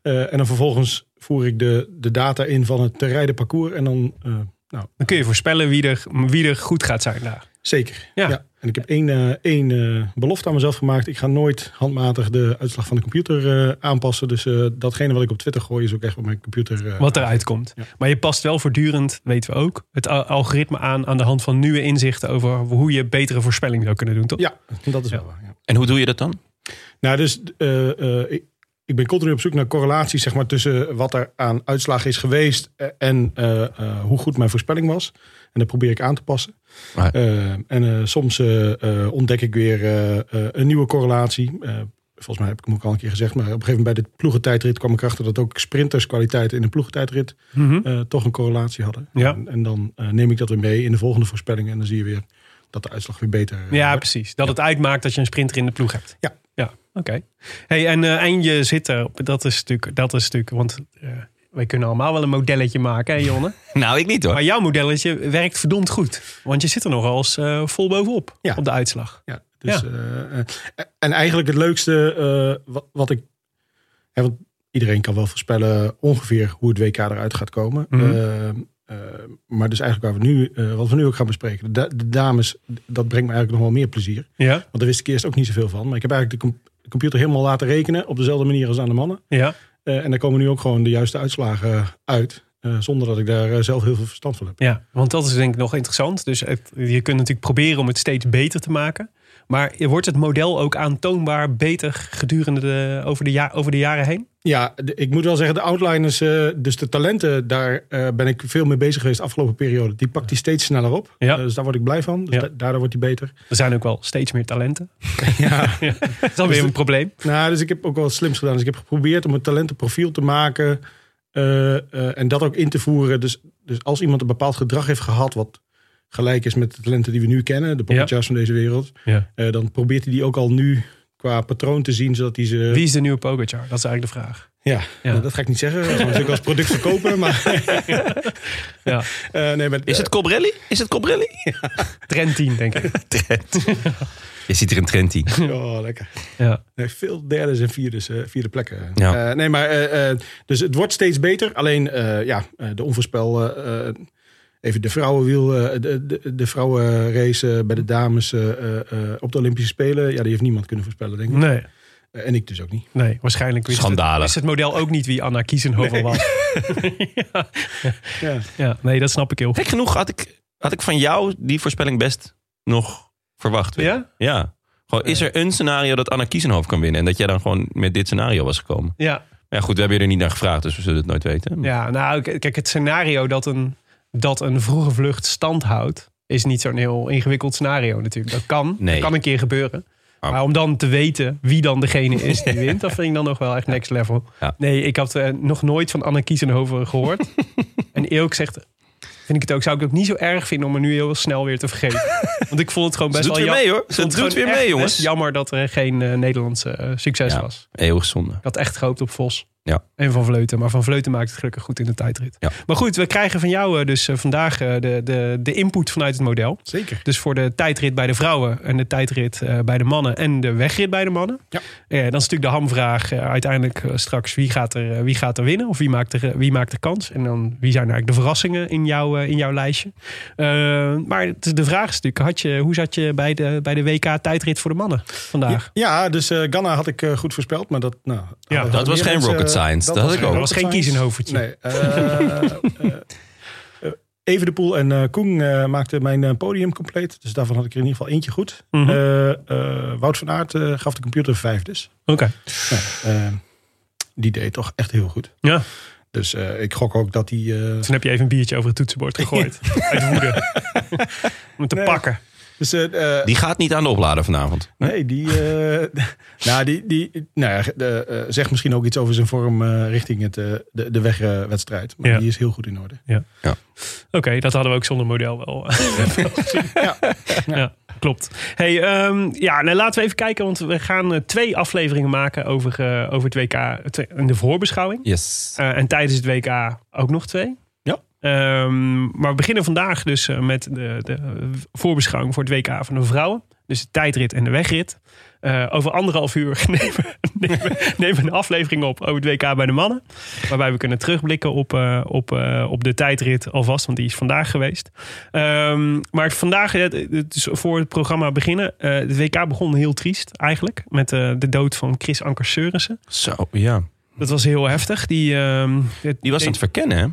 [SPEAKER 3] Eh, en dan vervolgens voer ik de, de data in van het te rijden parcours. En dan eh, nou,
[SPEAKER 2] Dan kun je voorspellen wie er, wie er goed gaat zijn daar.
[SPEAKER 3] Zeker.
[SPEAKER 2] Ja.
[SPEAKER 3] Ja. En ik heb één, eh, één eh, belofte aan mezelf gemaakt. Ik ga nooit handmatig de uitslag van de computer eh, aanpassen. Dus eh, datgene wat ik op Twitter gooi is ook echt wat mijn computer. eh,
[SPEAKER 2] Wat eruit komt.
[SPEAKER 3] Ja.
[SPEAKER 2] Maar je past wel voortdurend, weten we ook, het al- algoritme aan aan de hand van nieuwe inzichten over hoe je betere voorspelling zou kunnen doen. Toch?
[SPEAKER 3] Ja, dat is
[SPEAKER 2] Ja.
[SPEAKER 3] wel waar. Ja.
[SPEAKER 1] En hoe doe je dat dan?
[SPEAKER 3] Nou, dus eh, eh, ik, ik ben continu op zoek naar correlaties zeg maar, tussen wat er aan uitslag is geweest eh, en eh, eh, hoe goed mijn voorspelling was. En dat probeer ik aan te passen.
[SPEAKER 1] Maar-
[SPEAKER 3] Eh, en eh, soms eh, eh, ontdek ik weer eh, eh, een nieuwe correlatie. Eh, volgens mij heb ik hem ook al een keer gezegd. Maar op een gegeven moment bij de ploegentijdrit kwam ik erachter dat ook sprinterskwaliteiten in de ploegentijdrit
[SPEAKER 2] Mhm.
[SPEAKER 3] eh, toch een correlatie hadden.
[SPEAKER 2] Ja.
[SPEAKER 3] En, en dan eh, neem ik dat weer mee in de volgende voorspellingen. En dan zie je weer dat de uitslag weer beter eh,
[SPEAKER 2] Ja,
[SPEAKER 3] wordt.
[SPEAKER 2] precies. Dat het uitmaakt dat je een sprinter in de ploeg hebt.
[SPEAKER 3] Ja.
[SPEAKER 2] Ja, oké. Hey, en, eh, en je zit er, dat is natuurlijk, dat is natuurlijk want eh, wij kunnen allemaal wel een modelletje maken, hè Jonne?
[SPEAKER 1] Nou, ik niet hoor.
[SPEAKER 2] Maar jouw modelletje werkt verdomd goed. Want je zit er nogal eens eh, vol bovenop,
[SPEAKER 3] Ja.
[SPEAKER 2] op de uitslag.
[SPEAKER 3] Ja, dus, eh, eh, en eigenlijk het leukste eh, wat, wat ik. Hè, want iedereen kan wel voorspellen ongeveer hoe het WK eruit gaat komen.
[SPEAKER 2] Mhm.
[SPEAKER 3] Eh, eh, maar dus eigenlijk waar we nu, eh, wat we nu ook gaan bespreken. De, da- de dames, dat brengt me eigenlijk nog wel meer plezier.
[SPEAKER 2] Ja,
[SPEAKER 3] Want daar wist ik eerst ook niet zoveel van. Maar ik heb eigenlijk de com- de computer helemaal laten rekenen. Op dezelfde manier als aan de mannen.
[SPEAKER 2] ja.
[SPEAKER 3] Eh, en daar komen nu ook gewoon de juiste uitslagen uit. eh, zonder dat ik daar eh, zelf heel veel verstand van heb.
[SPEAKER 2] ja. Want dat is denk ik nog interessant. Dus het- je kunt natuurlijk proberen om het steeds beter te maken. Maar wordt het model ook aantoonbaar beter gedurende de, over, de ja, over de jaren heen?
[SPEAKER 3] Ja, de- ik moet wel zeggen, de outliners, eh, dus de talenten, daar eh, ben ik veel mee bezig geweest de afgelopen periode. Die pakt die steeds sneller op.
[SPEAKER 2] Ja.
[SPEAKER 3] Eh, dus daar word ik blij van. Dus
[SPEAKER 2] Ja.
[SPEAKER 3] da- daardoor wordt die beter.
[SPEAKER 2] Er zijn ook wel steeds meer talenten.
[SPEAKER 3] Ja.
[SPEAKER 2] Dat is dan weer een probleem.
[SPEAKER 3] nou, dus ik heb ook wel wat slims gedaan. Dus ik heb geprobeerd om een talentenprofiel te maken eh, eh, en dat ook in te voeren. Dus, dus als iemand een bepaald gedrag heeft gehad, wat gelijk is met de talenten die we nu kennen, de poppetjes van deze wereld,
[SPEAKER 2] Ja.
[SPEAKER 3] eh, dan probeert hij die ook al nu qua patroon te zien, zodat hij ze...
[SPEAKER 2] Wie is de nieuwe Pogacar? Dat is eigenlijk de vraag.
[SPEAKER 3] Ja,
[SPEAKER 2] Ja.
[SPEAKER 3] nou, dat ga ik niet zeggen. Dat gaan we natuurlijk als product verkopen, maar...
[SPEAKER 2] Ja.
[SPEAKER 3] Eh, nee, maar
[SPEAKER 1] Is het Cobrelli? Is het Cobrelli?
[SPEAKER 2] Trentin, denk ik.
[SPEAKER 1] Trent. je ziet er een trend in.
[SPEAKER 3] Oh, lekker.
[SPEAKER 2] Ja.
[SPEAKER 3] Nee, veel derdes en vierdes, eh, vierde plekken.
[SPEAKER 1] Ja.
[SPEAKER 3] Eh, nee, maar eh, eh, dus het wordt steeds beter. Alleen eh, ja, eh, de onvoorspel. eh, eh, even de vrouwenwiel, eh, de, de, de vrouwenrace eh, bij de dames eh, eh, eh, op de Olympische Spelen. Ja, die heeft niemand kunnen voorspellen, denk ik.
[SPEAKER 2] Nee,
[SPEAKER 3] Eh, en ik dus ook niet.
[SPEAKER 2] nee, waarschijnlijk wist het,
[SPEAKER 1] Schandalig.
[SPEAKER 2] wist het model ook niet wie Anna Kiezenhoven was. ja.
[SPEAKER 3] Ja.
[SPEAKER 2] ja, nee, dat snap ik heel goed.
[SPEAKER 1] Gek genoeg had ik, had ik van jou die voorspelling best nog verwacht. weet je.
[SPEAKER 2] Ja?
[SPEAKER 1] Ja. Gewoon, is er een scenario dat Anna Kiezenhoofd kan winnen? En dat jij dan gewoon met dit scenario was gekomen?
[SPEAKER 2] Ja.
[SPEAKER 1] Maar ja, goed, we hebben je er niet naar gevraagd, dus we zullen het nooit weten.
[SPEAKER 2] ja, nou, k- kijk, het scenario dat een, dat een vroege vlucht stand houdt... is niet zo'n heel ingewikkeld scenario natuurlijk. Dat kan,
[SPEAKER 1] Nee.
[SPEAKER 2] dat kan een keer gebeuren.
[SPEAKER 1] Maar-
[SPEAKER 2] Maar om dan te weten wie dan degene is die wint... dat vind ik dan nog wel echt next level.
[SPEAKER 1] Ja.
[SPEAKER 2] Nee, ik had eh, nog nooit van Anna Kiezenhoven gehoord. en eerlijk zegt, vind ik het ook, zou ik het ook niet zo erg vinden... om er nu heel snel weer te vergeten. Want ik vond het gewoon
[SPEAKER 1] Ze
[SPEAKER 2] best
[SPEAKER 1] doet
[SPEAKER 2] wel
[SPEAKER 1] weer
[SPEAKER 2] jam-
[SPEAKER 1] mee hoor.
[SPEAKER 2] Ik
[SPEAKER 1] Ze
[SPEAKER 2] vond het
[SPEAKER 1] doet weer
[SPEAKER 2] gewoon
[SPEAKER 1] mee
[SPEAKER 2] echt
[SPEAKER 1] jongens.
[SPEAKER 2] best jammer dat er geen eh, Nederlandse eh, succes
[SPEAKER 1] Ja.
[SPEAKER 2] was.
[SPEAKER 1] Eeuwig zonde.
[SPEAKER 2] Ik had echt gehoopt op Vos.
[SPEAKER 1] Ja.
[SPEAKER 2] En Van Vleuten. Maar Van Vleuten maakt het gelukkig goed in de tijdrit.
[SPEAKER 1] Ja.
[SPEAKER 2] Maar goed, we krijgen van jou eh, dus eh, vandaag eh, de, de, de input vanuit het model.
[SPEAKER 3] Zeker.
[SPEAKER 2] Dus voor de tijdrit bij de vrouwen en de tijdrit eh, bij de mannen en de wegrit bij de mannen.
[SPEAKER 3] Ja.
[SPEAKER 2] Eh, dan is natuurlijk de hamvraag eh, uiteindelijk eh, straks wie gaat, er, eh, wie gaat er winnen of wie maakt er, eh, wie maakt er kans. En dan wie zijn eigenlijk de verrassingen in, jouw eh, in jouw lijstje. Eh, maar het is- de vraag is natuurlijk, had je, hoe zat je bij de, bij de WK tijdrit voor de mannen vandaag?
[SPEAKER 3] Ja, dus eh Ghana had ik eh, goed voorspeld, maar dat... Nou,
[SPEAKER 2] Ja,
[SPEAKER 3] hadden
[SPEAKER 1] dat
[SPEAKER 3] meer
[SPEAKER 1] was geen
[SPEAKER 3] mensen,
[SPEAKER 1] rocket
[SPEAKER 3] eh,
[SPEAKER 1] science. Dat had ik
[SPEAKER 3] geen
[SPEAKER 1] ook.
[SPEAKER 2] Dat was
[SPEAKER 3] rocket
[SPEAKER 2] geen
[SPEAKER 3] science.
[SPEAKER 2] kiezenhovertje.
[SPEAKER 3] Nee. eh, eh, eh, Evenepoel en eh Koen eh, maakten mijn eh, podium compleet. Dus daarvan had ik er in ieder geval eentje goed.
[SPEAKER 2] Mhm.
[SPEAKER 3] Eh, eh, Wout van Aert eh, gaf de computer vijf dus.
[SPEAKER 2] Oké.
[SPEAKER 3] Nou, eh, die deed toch echt heel goed.
[SPEAKER 2] Ja.
[SPEAKER 3] Dus eh, ik gok ook dat hij... eh,
[SPEAKER 2] Toen Dus heb je even een biertje over het toetsenbord gegooid. Uit woede. Om het te
[SPEAKER 3] Nee.
[SPEAKER 2] pakken.
[SPEAKER 3] dus, eh, eh,
[SPEAKER 1] Die gaat niet aan de oplader vanavond.
[SPEAKER 3] nee, die... eh, nou, die, die nou, ja, de, eh, zegt misschien ook iets over zijn vorm eh, richting het, eh, de, de wegwedstrijd. Maar
[SPEAKER 2] Ja.
[SPEAKER 3] die is heel goed in orde.
[SPEAKER 2] Oké, dat hadden we ook zonder model wel. eh, wel gezien. ja.
[SPEAKER 3] Ja.
[SPEAKER 2] klopt. Hey, ehm, ja, nou, laten we even kijken, want we gaan eh, twee afleveringen maken over, eh, over het WK eh, in de voorbeschouwing.
[SPEAKER 1] Yes.
[SPEAKER 2] Eh, en tijdens het WK ook nog twee.
[SPEAKER 1] Ja.
[SPEAKER 2] Ehm, maar we beginnen vandaag dus eh, met de, de voorbeschouwing voor het WK van de vrouwen. Dus de tijdrit en de wegrit. Eh, over anderhalf uur nemen, nemen, nemen we een aflevering op over het WK bij de mannen. Waarbij we kunnen terugblikken op, eh, op, eh, op de tijdrit alvast, want die is vandaag geweest. Ehm, maar vandaag, het, het is voor het programma beginnen. eh het WK begon heel triest eigenlijk. Met eh, de dood van Chris Anker Seurissen.
[SPEAKER 1] Zo, ja.
[SPEAKER 2] Dat was heel heftig. Die, ehm, het-
[SPEAKER 1] Die was aan het verkennen, hè?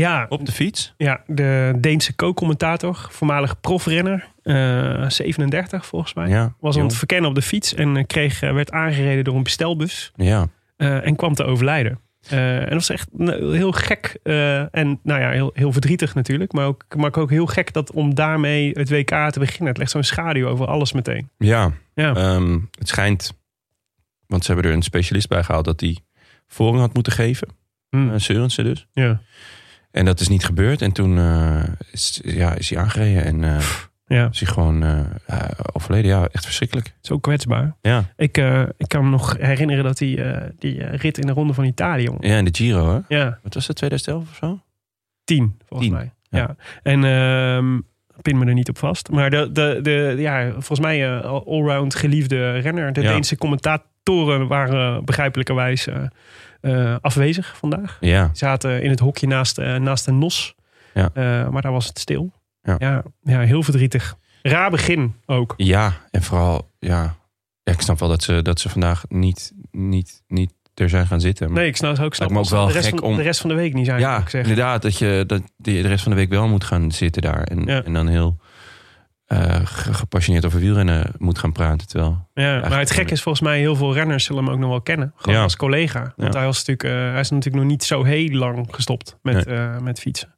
[SPEAKER 2] ja,
[SPEAKER 1] Op de fiets.
[SPEAKER 2] ja, de Deense co-commentator, voormalig profrenner, eh, 37 volgens mij.
[SPEAKER 1] Ja.
[SPEAKER 2] Was aan
[SPEAKER 1] Jong.
[SPEAKER 2] het verkennen op de fiets en eh, kreeg, eh, werd aangereden door een bestelbus
[SPEAKER 1] Ja.
[SPEAKER 2] eh, en kwam te overlijden. Eh, en dat was echt nou, heel gek eh, en nou ja, heel, heel verdrietig natuurlijk. Maar ook, maar ook heel gek dat om daarmee het WK te beginnen. Het legt zo'n schaduw over alles meteen.
[SPEAKER 1] Ja.
[SPEAKER 2] Ja,
[SPEAKER 1] Ehm, het schijnt, want ze hebben er een specialist bij gehaald, dat die voorrang had moeten geven.
[SPEAKER 2] Hm,
[SPEAKER 1] Eh, Seurensen dus.
[SPEAKER 2] ja,
[SPEAKER 1] En dat is niet gebeurd. En toen eh, is, ja, is hij aangereden en eh,
[SPEAKER 2] ja.
[SPEAKER 1] is hij gewoon eh, eh, overleden. Ja, echt verschrikkelijk.
[SPEAKER 2] zo kwetsbaar.
[SPEAKER 1] Ja,
[SPEAKER 2] Ik, eh, ik kan me nog herinneren dat die, eh, die eh, rit in de Ronde van Italië. jongen.
[SPEAKER 1] ja en de Giro, hè?
[SPEAKER 2] Ja,
[SPEAKER 1] Wat was dat, 2011 of zo?
[SPEAKER 2] Tien, volgens
[SPEAKER 1] Tien,
[SPEAKER 2] mij. Ja.
[SPEAKER 1] ja.
[SPEAKER 2] En ehm, pin me er niet op vast. Maar de, de, de, ja, volgens mij eh, allround geliefde renner. De
[SPEAKER 1] Ja.
[SPEAKER 2] Deense commentatoren waren begrijpelijkerwijs eh, eh, afwezig vandaag.
[SPEAKER 1] Ja,
[SPEAKER 2] Die zaten in het hokje naast, eh, naast de nos.
[SPEAKER 1] Ja.
[SPEAKER 2] Eh, maar daar was het stil.
[SPEAKER 1] Ja.
[SPEAKER 2] Ja, ja, heel verdrietig. Raar begin ook.
[SPEAKER 1] ja en vooral, ja. ja. Ik snap wel dat ze, dat ze vandaag niet, niet, niet er zijn gaan zitten. maar-
[SPEAKER 2] Nee, ik snap het ook. Snap
[SPEAKER 1] Lijkt me ook
[SPEAKER 2] dat ze
[SPEAKER 1] wel
[SPEAKER 2] de rest,
[SPEAKER 1] gek
[SPEAKER 2] van,
[SPEAKER 1] om-
[SPEAKER 2] de rest van de week niet zijn.
[SPEAKER 1] Ja,
[SPEAKER 2] moet ik zeggen.
[SPEAKER 1] inderdaad. Dat je dat die de rest van de week wel moet gaan zitten daar. En,
[SPEAKER 2] Ja.
[SPEAKER 1] en dan heel eh, ge- gepassioneerd over wielrennen moet gaan praten. Terwijl,
[SPEAKER 2] Ja, maar het
[SPEAKER 1] Eigenlijk
[SPEAKER 2] gek is volgens mij, heel veel renners zullen hem ook nog wel kennen. Gewoon
[SPEAKER 1] Ja.
[SPEAKER 2] als collega. Want
[SPEAKER 1] Ja.
[SPEAKER 2] hij, was natuurlijk, eh, hij is natuurlijk nog niet zo heel lang gestopt met, eh, met fietsen.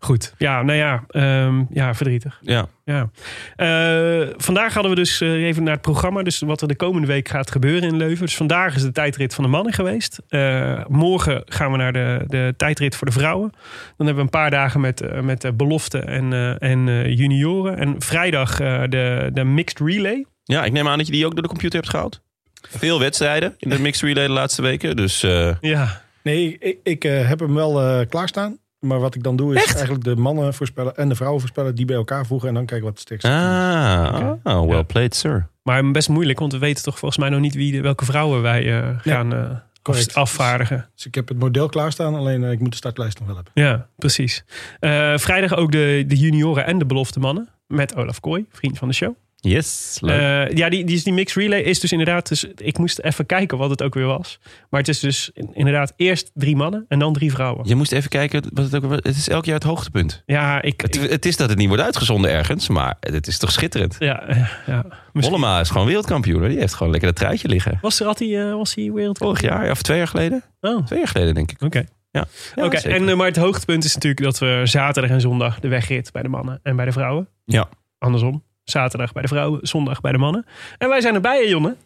[SPEAKER 2] Goed. Ja, nou ja, ehm, ja verdrietig.
[SPEAKER 1] ja,
[SPEAKER 2] Ja. Eh, vandaag hadden we dus eh, even naar het programma. Dus wat er de komende week gaat gebeuren in Leuven. Dus vandaag is de tijdrit van de mannen geweest. Eh, morgen gaan we naar de, de tijdrit voor de vrouwen. Dan hebben we een paar dagen met, eh, met eh, beloften en, eh, en eh, junioren. En vrijdag eh, de, de mixed relay.
[SPEAKER 1] ja, ik neem aan dat je die ook door de computer hebt gehaald. Veel wedstrijden in de mixed relay de laatste weken. Dus eh,
[SPEAKER 2] Ja.
[SPEAKER 3] Nee, ik, ik eh, heb hem wel eh, klaarstaan. Maar wat ik dan doe is eigenlijk de mannen voorspellen en de vrouwen voorspellen die bij elkaar voegen. En dan kijken wat de sterkste team is.
[SPEAKER 1] ah, ah, well
[SPEAKER 2] Ja.
[SPEAKER 1] played, sir.
[SPEAKER 2] Maar best moeilijk, want we weten toch volgens mij nog niet wie de, welke vrouwen wij eh, gaan eh,
[SPEAKER 3] correct.
[SPEAKER 2] af- afvaardigen.
[SPEAKER 3] Dus ik heb het model klaarstaan, alleen eh, ik moet de startlijst nog wel hebben.
[SPEAKER 2] Ja, precies. Eh, vrijdag ook de, de junioren en de belofte mannen. Met Olaf Kooi, vriend van de show.
[SPEAKER 1] Yes, leuk.
[SPEAKER 2] Eh, ja, die, die, die mixed relay is dus inderdaad... Dus ik moest even kijken wat het ook weer was. Maar het is dus in- inderdaad eerst drie mannen en dan drie vrouwen.
[SPEAKER 1] je moest even kijken, wat het, ook, het is elk jaar het hoogtepunt.
[SPEAKER 2] Ja, ik...
[SPEAKER 1] Het,
[SPEAKER 2] ik-
[SPEAKER 1] het is dat het niet wordt uitgezonden ergens, maar het is toch schitterend.
[SPEAKER 2] ja, eh, ja. Misschien-
[SPEAKER 1] Mollema is gewoon wereldkampioen. hoor. Die heeft gewoon lekker dat truitje liggen.
[SPEAKER 2] Was, er, had hij, eh, was hij
[SPEAKER 1] Vorig
[SPEAKER 2] wereldkampioen?
[SPEAKER 1] jaar, ja, of twee jaar geleden?
[SPEAKER 2] Oh,
[SPEAKER 1] Twee jaar geleden, denk ik.
[SPEAKER 2] oké.
[SPEAKER 1] Ja,
[SPEAKER 2] Oké,
[SPEAKER 1] zeker.
[SPEAKER 2] en, eh, maar het hoogtepunt is natuurlijk dat we zaterdag en zondag de wegrit bij de mannen en bij de vrouwen.
[SPEAKER 1] Ja.
[SPEAKER 2] Andersom. Zaterdag bij de vrouwen, zondag bij de mannen. En wij zijn erbij, Jonne.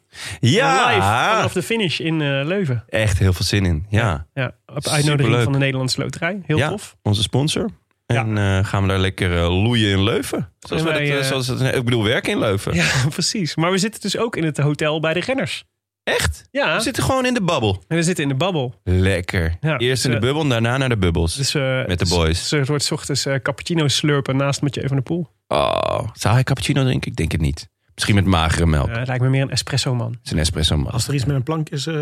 [SPEAKER 2] Live
[SPEAKER 1] ja,
[SPEAKER 2] vanaf de finish in eh, Leuven.
[SPEAKER 1] echt heel veel zin in. Ja,
[SPEAKER 2] Ja, op uitnodiging
[SPEAKER 1] Superleuk.
[SPEAKER 2] van de Nederlandse Loterij. Heel
[SPEAKER 1] Ja.
[SPEAKER 2] tof.
[SPEAKER 1] onze sponsor. En eh, gaan we daar lekker eh, loeien in Leuven. Zoals
[SPEAKER 2] En
[SPEAKER 1] we dat,
[SPEAKER 2] wij,
[SPEAKER 1] eh,
[SPEAKER 2] eh,
[SPEAKER 1] zoals dat, nee, ik bedoel, werken in Leuven.
[SPEAKER 2] Ja, precies. Maar we zitten dus ook in het hotel bij de renners.
[SPEAKER 1] Echt?
[SPEAKER 2] Ja,
[SPEAKER 1] We zitten gewoon in de babbel.
[SPEAKER 2] en we zitten in de babbel.
[SPEAKER 1] Lekker.
[SPEAKER 2] Ja,
[SPEAKER 1] Eerst in de
[SPEAKER 2] eh,
[SPEAKER 1] bubbel, daarna naar de bubbels.
[SPEAKER 2] Dus, eh,
[SPEAKER 1] Met de boys.
[SPEAKER 2] Dus er wordt 's ochtends eh, cappuccino slurpen naast Mathieu van der Poel.
[SPEAKER 1] Oh, zou hij cappuccino drinken? Ik denk het niet. Misschien met magere melk.
[SPEAKER 2] Eh, het lijkt me meer een espresso man.
[SPEAKER 1] Het is een espresso man.
[SPEAKER 3] Als er iets met een plank is, eh,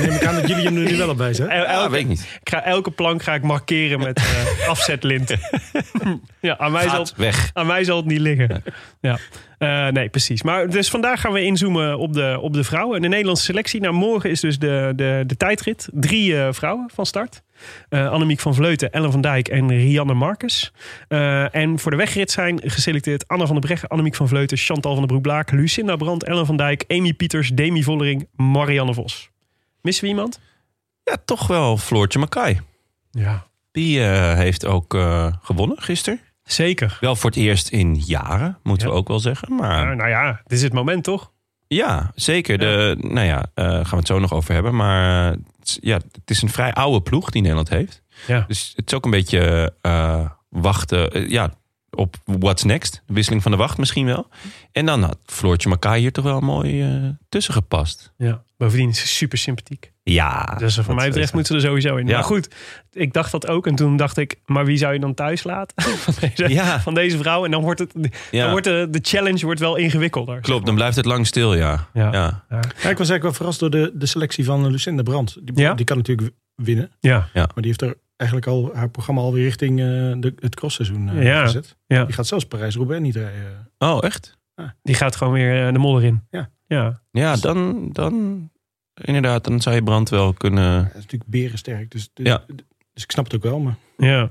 [SPEAKER 3] neem ik aan dat jullie hem er nu wel op bij zijn.
[SPEAKER 2] El-
[SPEAKER 1] Ja,
[SPEAKER 2] elke-
[SPEAKER 1] weet ik niet.
[SPEAKER 2] ik ga elke plank ga ik markeren met eh, afzetlint. ja, aan mij, zal,
[SPEAKER 1] Gaat weg.
[SPEAKER 2] aan mij zal het niet liggen. Ja. Eh, nee, precies. Maar dus vandaag gaan we inzoomen op de, op de vrouwen. De Nederlandse selectie. Nou, morgen is dus de, de, de tijdrit. Drie eh, vrouwen van start. Eh, Annemiek van Vleuten, Ellen van Dijk en Rianne Marcus. Eh, en voor de wegrit zijn geselecteerd Anna van der Breggen, Annemiek van Vleuten, Chantal van der Broek-Blaak, Lucinda Brandt, Ellen van Dijk, Amy Pieters, Demi Vollering, Marianne Vos. Missen we iemand?
[SPEAKER 1] Ja, toch wel Floortje Makai.
[SPEAKER 2] Ja.
[SPEAKER 1] Die eh, heeft ook eh, gewonnen gisteren.
[SPEAKER 2] Zeker.
[SPEAKER 1] Wel voor het eerst in jaren, moeten
[SPEAKER 2] Ja.
[SPEAKER 1] we ook wel zeggen. Maar
[SPEAKER 2] Nou, nou ja, dit is het moment toch?
[SPEAKER 1] Ja, zeker. De, Nou ja, eh, gaan we het zo nog over hebben. Maar eh, het is- ja, het is een vrij oude ploeg die Nederland heeft.
[SPEAKER 2] Ja.
[SPEAKER 1] Dus het is ook een beetje eh, wachten. eh, ja, op What's Next. De wisseling van de wacht misschien wel. En dan had Floortje Makai hier toch wel mooi eh tussen gepast.
[SPEAKER 2] Ja. Bovendien is ze super sympathiek.
[SPEAKER 1] Ja.
[SPEAKER 2] dus
[SPEAKER 1] Ah, dat
[SPEAKER 2] van mij betreft
[SPEAKER 1] is-
[SPEAKER 2] moeten ze er sowieso in.
[SPEAKER 1] Ja.
[SPEAKER 2] Maar goed, ik dacht dat ook. En toen dacht ik, maar wie zou je dan thuis laten van deze,
[SPEAKER 1] Ja.
[SPEAKER 2] van deze vrouw? En dan wordt, het, dan
[SPEAKER 1] Ja.
[SPEAKER 2] wordt de, de challenge wordt wel ingewikkelder.
[SPEAKER 1] Klopt, dan blijft het lang stil, ja. ja.
[SPEAKER 2] Ja. Ja.
[SPEAKER 3] Ja, ik was eigenlijk wel verrast door de, de selectie van eh, Lucinda Brandt. Die,
[SPEAKER 2] Ja?
[SPEAKER 3] die kan natuurlijk winnen.
[SPEAKER 2] Ja,
[SPEAKER 3] Maar die heeft er eigenlijk al haar programma alweer richting eh, de, het crossseizoen eh,
[SPEAKER 2] Ja,
[SPEAKER 3] gezet.
[SPEAKER 2] ja.
[SPEAKER 3] Die gaat zelfs Parijs-Roubaix niet rijden. Eh,
[SPEAKER 1] Oh, echt?
[SPEAKER 2] die gaat gewoon weer eh, de modder in.
[SPEAKER 3] Ja.
[SPEAKER 2] ja.
[SPEAKER 1] Ja, dan, dan inderdaad, dan zou je brand wel kunnen...
[SPEAKER 3] Dat is natuurlijk berensterk. Dus, dus,
[SPEAKER 1] Ja.
[SPEAKER 3] dus ik snap het ook wel. Maar
[SPEAKER 2] Ja.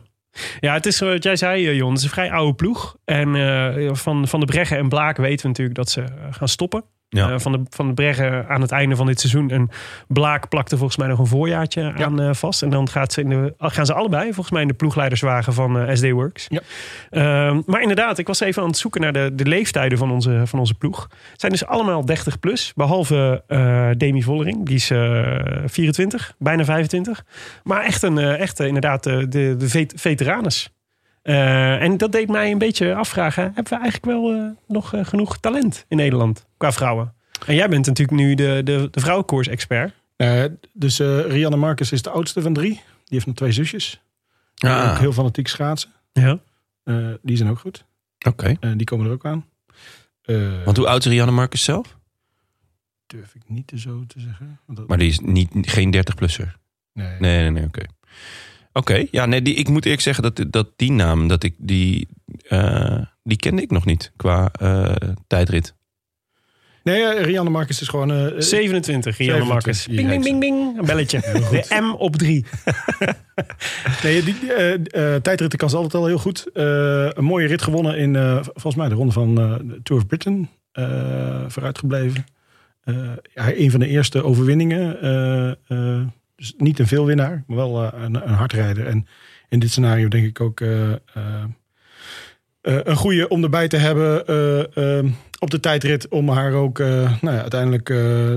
[SPEAKER 2] Ja, het is wat jij zei, eh, Jon. Het is een vrij oude ploeg. En eh, van, van de Breggen en Blaak weten we natuurlijk dat ze eh, gaan stoppen.
[SPEAKER 1] Ja.
[SPEAKER 2] Eh, van, de, van de Breggen aan het einde van dit seizoen. En Blaak plakte volgens mij nog een voorjaartje aan eh, vast. En dan gaat ze in de, gaan ze allebei volgens mij in de ploegleiderswagen van eh, SD Works.
[SPEAKER 3] Ja.
[SPEAKER 2] Ehm, maar inderdaad, ik was even aan het zoeken naar de, de leeftijden van onze, van onze ploeg. Het zijn dus allemaal 30 plus. Behalve eh, Demi Vollering. Die is eh, 24, bijna 25. Maar echt, een, eh, echt eh, inderdaad eh, de, de vet- veteranes. Eh, en dat deed mij een beetje afvragen. Hebben we eigenlijk wel eh, nog eh, genoeg talent in Nederland qua vrouwen? En jij bent natuurlijk nu de, de, de vrouwenkoers-expert.
[SPEAKER 3] Eh, dus eh, Rianne Marcus is de oudste van drie. Die heeft nog twee zusjes. Die
[SPEAKER 1] Ah.
[SPEAKER 3] Ook heel fanatiek schaatsen.
[SPEAKER 2] Ja.
[SPEAKER 3] Eh, die zijn ook goed.
[SPEAKER 1] Oké.
[SPEAKER 3] Eh, die komen er ook aan. Eh,
[SPEAKER 1] Want hoe oud is Rianne Marcus zelf?
[SPEAKER 3] durf ik niet te zo te zeggen. Want dat-
[SPEAKER 1] Maar die is niet, geen 30-plusser.
[SPEAKER 3] nee.
[SPEAKER 1] Nee, nee, nee, oké. Oké, ja, nee, die, ik moet eerlijk zeggen dat, dat die naam, dat ik die, eh, die kende ik nog niet qua eh, tijdrit.
[SPEAKER 3] Nee, eh, Rianne Marcus is gewoon... eh, eh,
[SPEAKER 2] 27, Rianne
[SPEAKER 3] 27,
[SPEAKER 2] Marcus.
[SPEAKER 3] je
[SPEAKER 2] Bing, bing,
[SPEAKER 3] zei
[SPEAKER 2] bing, bing. Een belletje. De M op drie.
[SPEAKER 3] nee, die, die, eh, eh, tijdritten kan ze altijd al heel goed. Eh, een mooie rit gewonnen in, eh, v- volgens mij, de ronde van eh, de Tour of Britain. eh vooruitgebleven. Eh, ja, een van de eerste overwinningen. eh, eh, dus niet een veelwinnaar, maar wel eh, een, een hardrijder. En in dit scenario denk ik ook eh, eh, eh, een goede om erbij te hebben eh, eh, op de tijdrit. Om haar ook eh, nou ja, uiteindelijk eh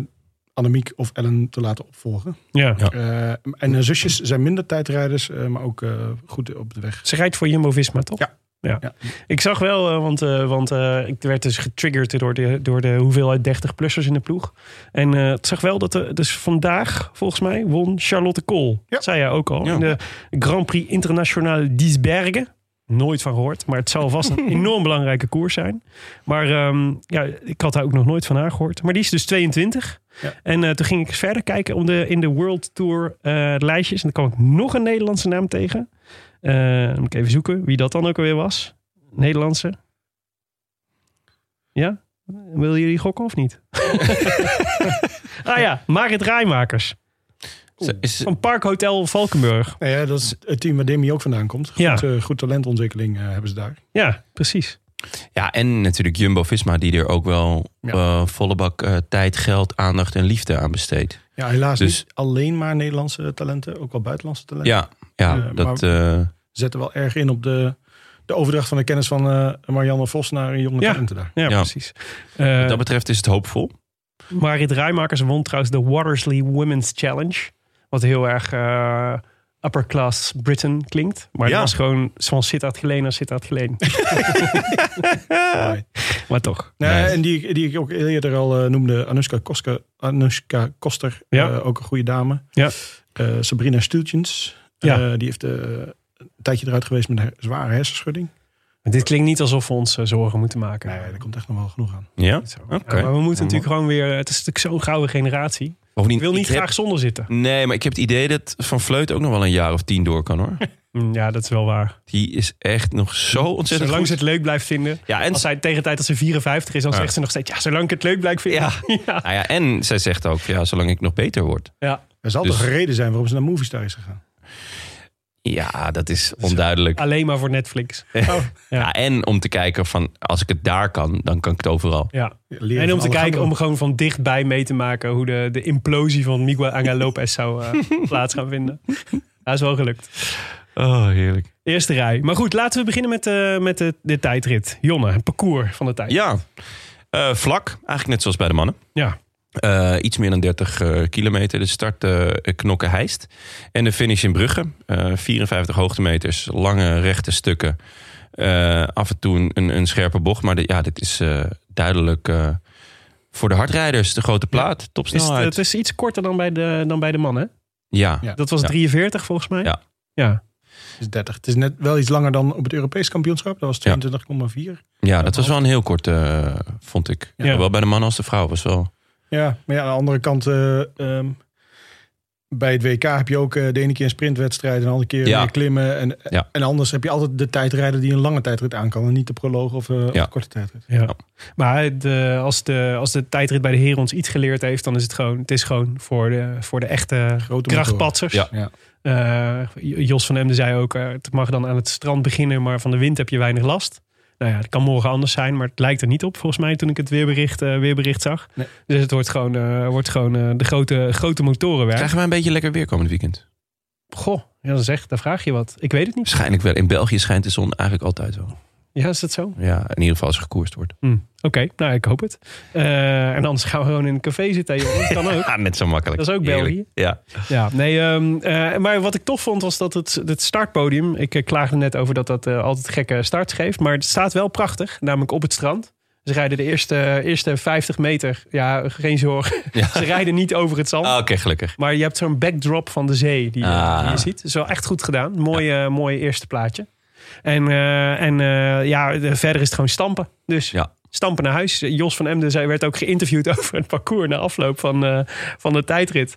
[SPEAKER 3] Annemiek of Ellen te laten opvolgen.
[SPEAKER 2] Ja.
[SPEAKER 1] Ja.
[SPEAKER 3] Eh, en haar zusjes zijn minder tijdrijders, eh, maar ook eh, goed op de weg.
[SPEAKER 2] Ze rijdt voor Jumbo-Visma, toch?
[SPEAKER 3] Ja.
[SPEAKER 2] Ja.
[SPEAKER 3] Ja.
[SPEAKER 2] Ik zag wel, eh, want, eh, want eh, ik werd dus getriggerd door de, door de hoeveelheid 30-plussers in de ploeg. En eh, ik zag wel dat er, dus vandaag, volgens mij, won Charlotte Kool. Dat zei jij ook al.
[SPEAKER 1] Ja.
[SPEAKER 2] In de Grand Prix Internationale d'Isbergen. Nooit van gehoord, maar het zal vast een enorm belangrijke koers zijn. Maar ehm, ja, ik had daar ook nog nooit van haar gehoord. Maar die is dus 22.
[SPEAKER 3] Ja.
[SPEAKER 2] En eh, toen ging ik verder kijken om de, in de World Tour eh, lijstjes. En dan kwam ik nog een Nederlandse naam tegen. Eh, dan moet ik even zoeken wie dat dan ook alweer was. Nederlandse. Ja? Willen jullie gokken of niet? ah ja, Marit Rijmakers.
[SPEAKER 1] Ze- is-
[SPEAKER 2] Van Parkhotel Valkenburg.
[SPEAKER 3] Nou ja, dat is het team waar Demi ook vandaan komt. Goed,
[SPEAKER 2] Ja.
[SPEAKER 3] eh, goed talentontwikkeling eh, hebben ze daar.
[SPEAKER 2] Ja, precies.
[SPEAKER 1] ja, en natuurlijk Jumbo-Visma, die er ook wel
[SPEAKER 3] Ja.
[SPEAKER 1] eh, volle bak eh, tijd, geld, aandacht en liefde aan besteedt.
[SPEAKER 3] Ja, helaas
[SPEAKER 1] Dus-
[SPEAKER 3] niet alleen maar Nederlandse talenten, ook wel buitenlandse talenten.
[SPEAKER 1] Ja, ja,
[SPEAKER 3] Ja,
[SPEAKER 1] dat... eh,
[SPEAKER 3] Ze zetten wel erg in op de, de overdracht van de kennis van eh, Marianne Vos naar een jonge
[SPEAKER 2] Ja.
[SPEAKER 3] talenten daar.
[SPEAKER 2] Ja,
[SPEAKER 1] Ja.
[SPEAKER 2] precies. Eh,
[SPEAKER 1] Wat dat betreft is het hoopvol.
[SPEAKER 2] Marit Rijmakers won trouwens de Watersley Women's Challenge. Wat heel erg eh, upper class Britain klinkt. Maar dat
[SPEAKER 1] Ja.
[SPEAKER 2] was gewoon van Sittard Geleen naar Sittard Geleen.
[SPEAKER 3] Mooi.
[SPEAKER 2] maar toch.
[SPEAKER 3] Nee,
[SPEAKER 1] Nice.
[SPEAKER 3] Nou En die, die ik ook eerder al eh, noemde, Anushka, Koska, Anushka Koster,
[SPEAKER 2] Ja.
[SPEAKER 3] eh, ook een goede dame.
[SPEAKER 2] Ja.
[SPEAKER 3] Eh, Sabrina Stultjens, eh,
[SPEAKER 2] Ja.
[SPEAKER 3] die heeft eh, een tijdje eruit geweest met een her- zware hersenschudding.
[SPEAKER 2] Dit klinkt niet alsof we ons eh, zorgen moeten maken.
[SPEAKER 3] Nee, daar komt echt nog wel genoeg aan.
[SPEAKER 1] Ja?
[SPEAKER 2] Zo.
[SPEAKER 1] Oké.
[SPEAKER 2] Ja, maar we moeten natuurlijk gewoon weer... Het is natuurlijk zo'n gouden generatie.
[SPEAKER 1] Bovendien,
[SPEAKER 2] Ik wil niet
[SPEAKER 1] heb-
[SPEAKER 2] graag zonder zitten.
[SPEAKER 1] Nee, maar ik heb het idee dat Van Vleut ook nog wel een jaar of tien door kan hoor.
[SPEAKER 2] Mm, Ja, dat is wel waar.
[SPEAKER 1] Die is echt nog zo ontzettend
[SPEAKER 2] Zolang ze
[SPEAKER 1] goed.
[SPEAKER 2] het leuk blijft vinden.
[SPEAKER 1] Ja, en
[SPEAKER 2] Als zij tegen de tijd dat ze 54 is, dan
[SPEAKER 1] Ja.
[SPEAKER 2] zegt ze nog steeds... Ja, zolang ik het leuk blijf vinden.
[SPEAKER 1] Ja.
[SPEAKER 2] ja.
[SPEAKER 1] Nou ja, en zij zegt ook, ja, zolang ik nog beter word.
[SPEAKER 2] ja.
[SPEAKER 3] Er zal
[SPEAKER 1] Dus-
[SPEAKER 3] toch een reden zijn waarom ze naar Movistar is gegaan.
[SPEAKER 1] Ja, dat is onduidelijk.
[SPEAKER 2] Alleen maar voor Netflix.
[SPEAKER 1] Ja. en om te kijken van, als ik het daar kan, dan kan ik het overal.
[SPEAKER 2] Ja. En
[SPEAKER 3] Leren
[SPEAKER 2] om
[SPEAKER 3] van
[SPEAKER 2] te
[SPEAKER 3] Alejandro.
[SPEAKER 2] kijken, om gewoon van dichtbij mee te maken hoe de, de implosie van Miguel Angel Lopez zou eh, plaats gaan vinden. Dat is wel gelukt.
[SPEAKER 1] Oh, heerlijk.
[SPEAKER 2] Eerste rij. Maar goed, laten we beginnen met, eh, met de, de tijdrit. Jonne, het parcours van de tijd.
[SPEAKER 1] Ja, Eh, vlak. Eigenlijk net zoals bij de mannen.
[SPEAKER 2] Ja.
[SPEAKER 1] Eh, iets meer dan 30 eh, kilometer. De start eh knokken heist. En de finish in Brugge. Eh, 54 hoogtemeters, lange rechte stukken. Eh, eh, af en toe een- een, een scherpe bocht. Maar de- ja, dit is eh, duidelijk eh, voor de hardrijders de grote plaat.
[SPEAKER 2] Is het,
[SPEAKER 1] Topsnelheid.
[SPEAKER 2] het eh, is iets korter dan bij de, dan bij de mannen.
[SPEAKER 1] nou, ja.
[SPEAKER 3] Ja.
[SPEAKER 2] Dat was
[SPEAKER 1] Ja.
[SPEAKER 2] 43 volgens mij.
[SPEAKER 1] Ja.
[SPEAKER 2] ja.
[SPEAKER 3] Het is 30. Het is net wel iets langer dan op het Europees kampioenschap. Dat was 22,4. Ja.
[SPEAKER 1] ja, dat was wel een heel kort, eh, vond ik.
[SPEAKER 2] Ja.
[SPEAKER 1] Zowel bij de man als de vrouw was wel...
[SPEAKER 3] maar ja, aan de andere kant... eh, ehm, bij het WK heb je ook eh, de ene keer een sprintwedstrijd... en de andere keer
[SPEAKER 1] Ja.
[SPEAKER 3] weer klimmen. En,
[SPEAKER 1] Ja.
[SPEAKER 3] en anders heb je altijd de tijdrijder die een lange tijdrit aan kan... en niet de proloog of, eh, of
[SPEAKER 1] Ja.
[SPEAKER 3] de korte tijdrit.
[SPEAKER 2] Ja. Maar de, als, de, als de tijdrit bij de heren ons iets geleerd heeft, dan is het gewoon, het is gewoon voor de, voor de echte
[SPEAKER 3] Grote
[SPEAKER 2] krachtpatsers.
[SPEAKER 1] Ja.
[SPEAKER 3] Ja.
[SPEAKER 2] Eh, J- Jos van Emden zei ook, eh, het mag dan aan het strand beginnen, maar van de wind heb je weinig last. Nou ja, het kan morgen anders zijn, maar het lijkt er niet op volgens mij toen ik het weerbericht, eh, weerbericht zag.
[SPEAKER 3] Nee.
[SPEAKER 2] Dus het wordt gewoon, eh, wordt gewoon eh, de grote, grote motorenwerk.
[SPEAKER 1] Krijgen wij een beetje lekker weer komend weekend?
[SPEAKER 2] Goh, ja, dan zeg, daar vraag je wat. Ik weet het niet.
[SPEAKER 1] Waarschijnlijk wel. In België schijnt de zon eigenlijk altijd wel.
[SPEAKER 2] Ja, is dat zo?
[SPEAKER 1] Ja, in ieder geval als er gekoerst wordt.
[SPEAKER 2] Hm, Oké, nou ik hoop het. Eh, en anders gaan we gewoon in een café zitten. Joh. Dat kan ook.
[SPEAKER 1] Ah, net zo makkelijk.
[SPEAKER 2] Dat is ook België.
[SPEAKER 1] Heerlijk. Ja.
[SPEAKER 2] Ja, nee, ehm, eh, maar wat ik tof vond was dat het, het startpodium. Ik eh, klaagde net over dat dat eh, altijd gekke starts geeft. Maar het staat wel prachtig, namelijk op het strand. Ze rijden de eerste, eerste 50 meter. Ja, geen zorgen.
[SPEAKER 1] Ja.
[SPEAKER 2] Ze rijden niet over het zand.
[SPEAKER 1] Ah, Oké, gelukkig.
[SPEAKER 2] Maar je hebt zo'n backdrop van de zee die, je-
[SPEAKER 1] Ah.
[SPEAKER 2] die je ziet. Dat is wel echt goed gedaan. Mooi, eh, mooi eerste plaatje. En, eh, en eh, ja, de- verder is het gewoon stampen. Dus
[SPEAKER 1] Ja.
[SPEAKER 2] stampen naar huis. Jos van Emden zei, werd ook geïnterviewd over het parcours na afloop van, eh, van de tijdrit. Eh,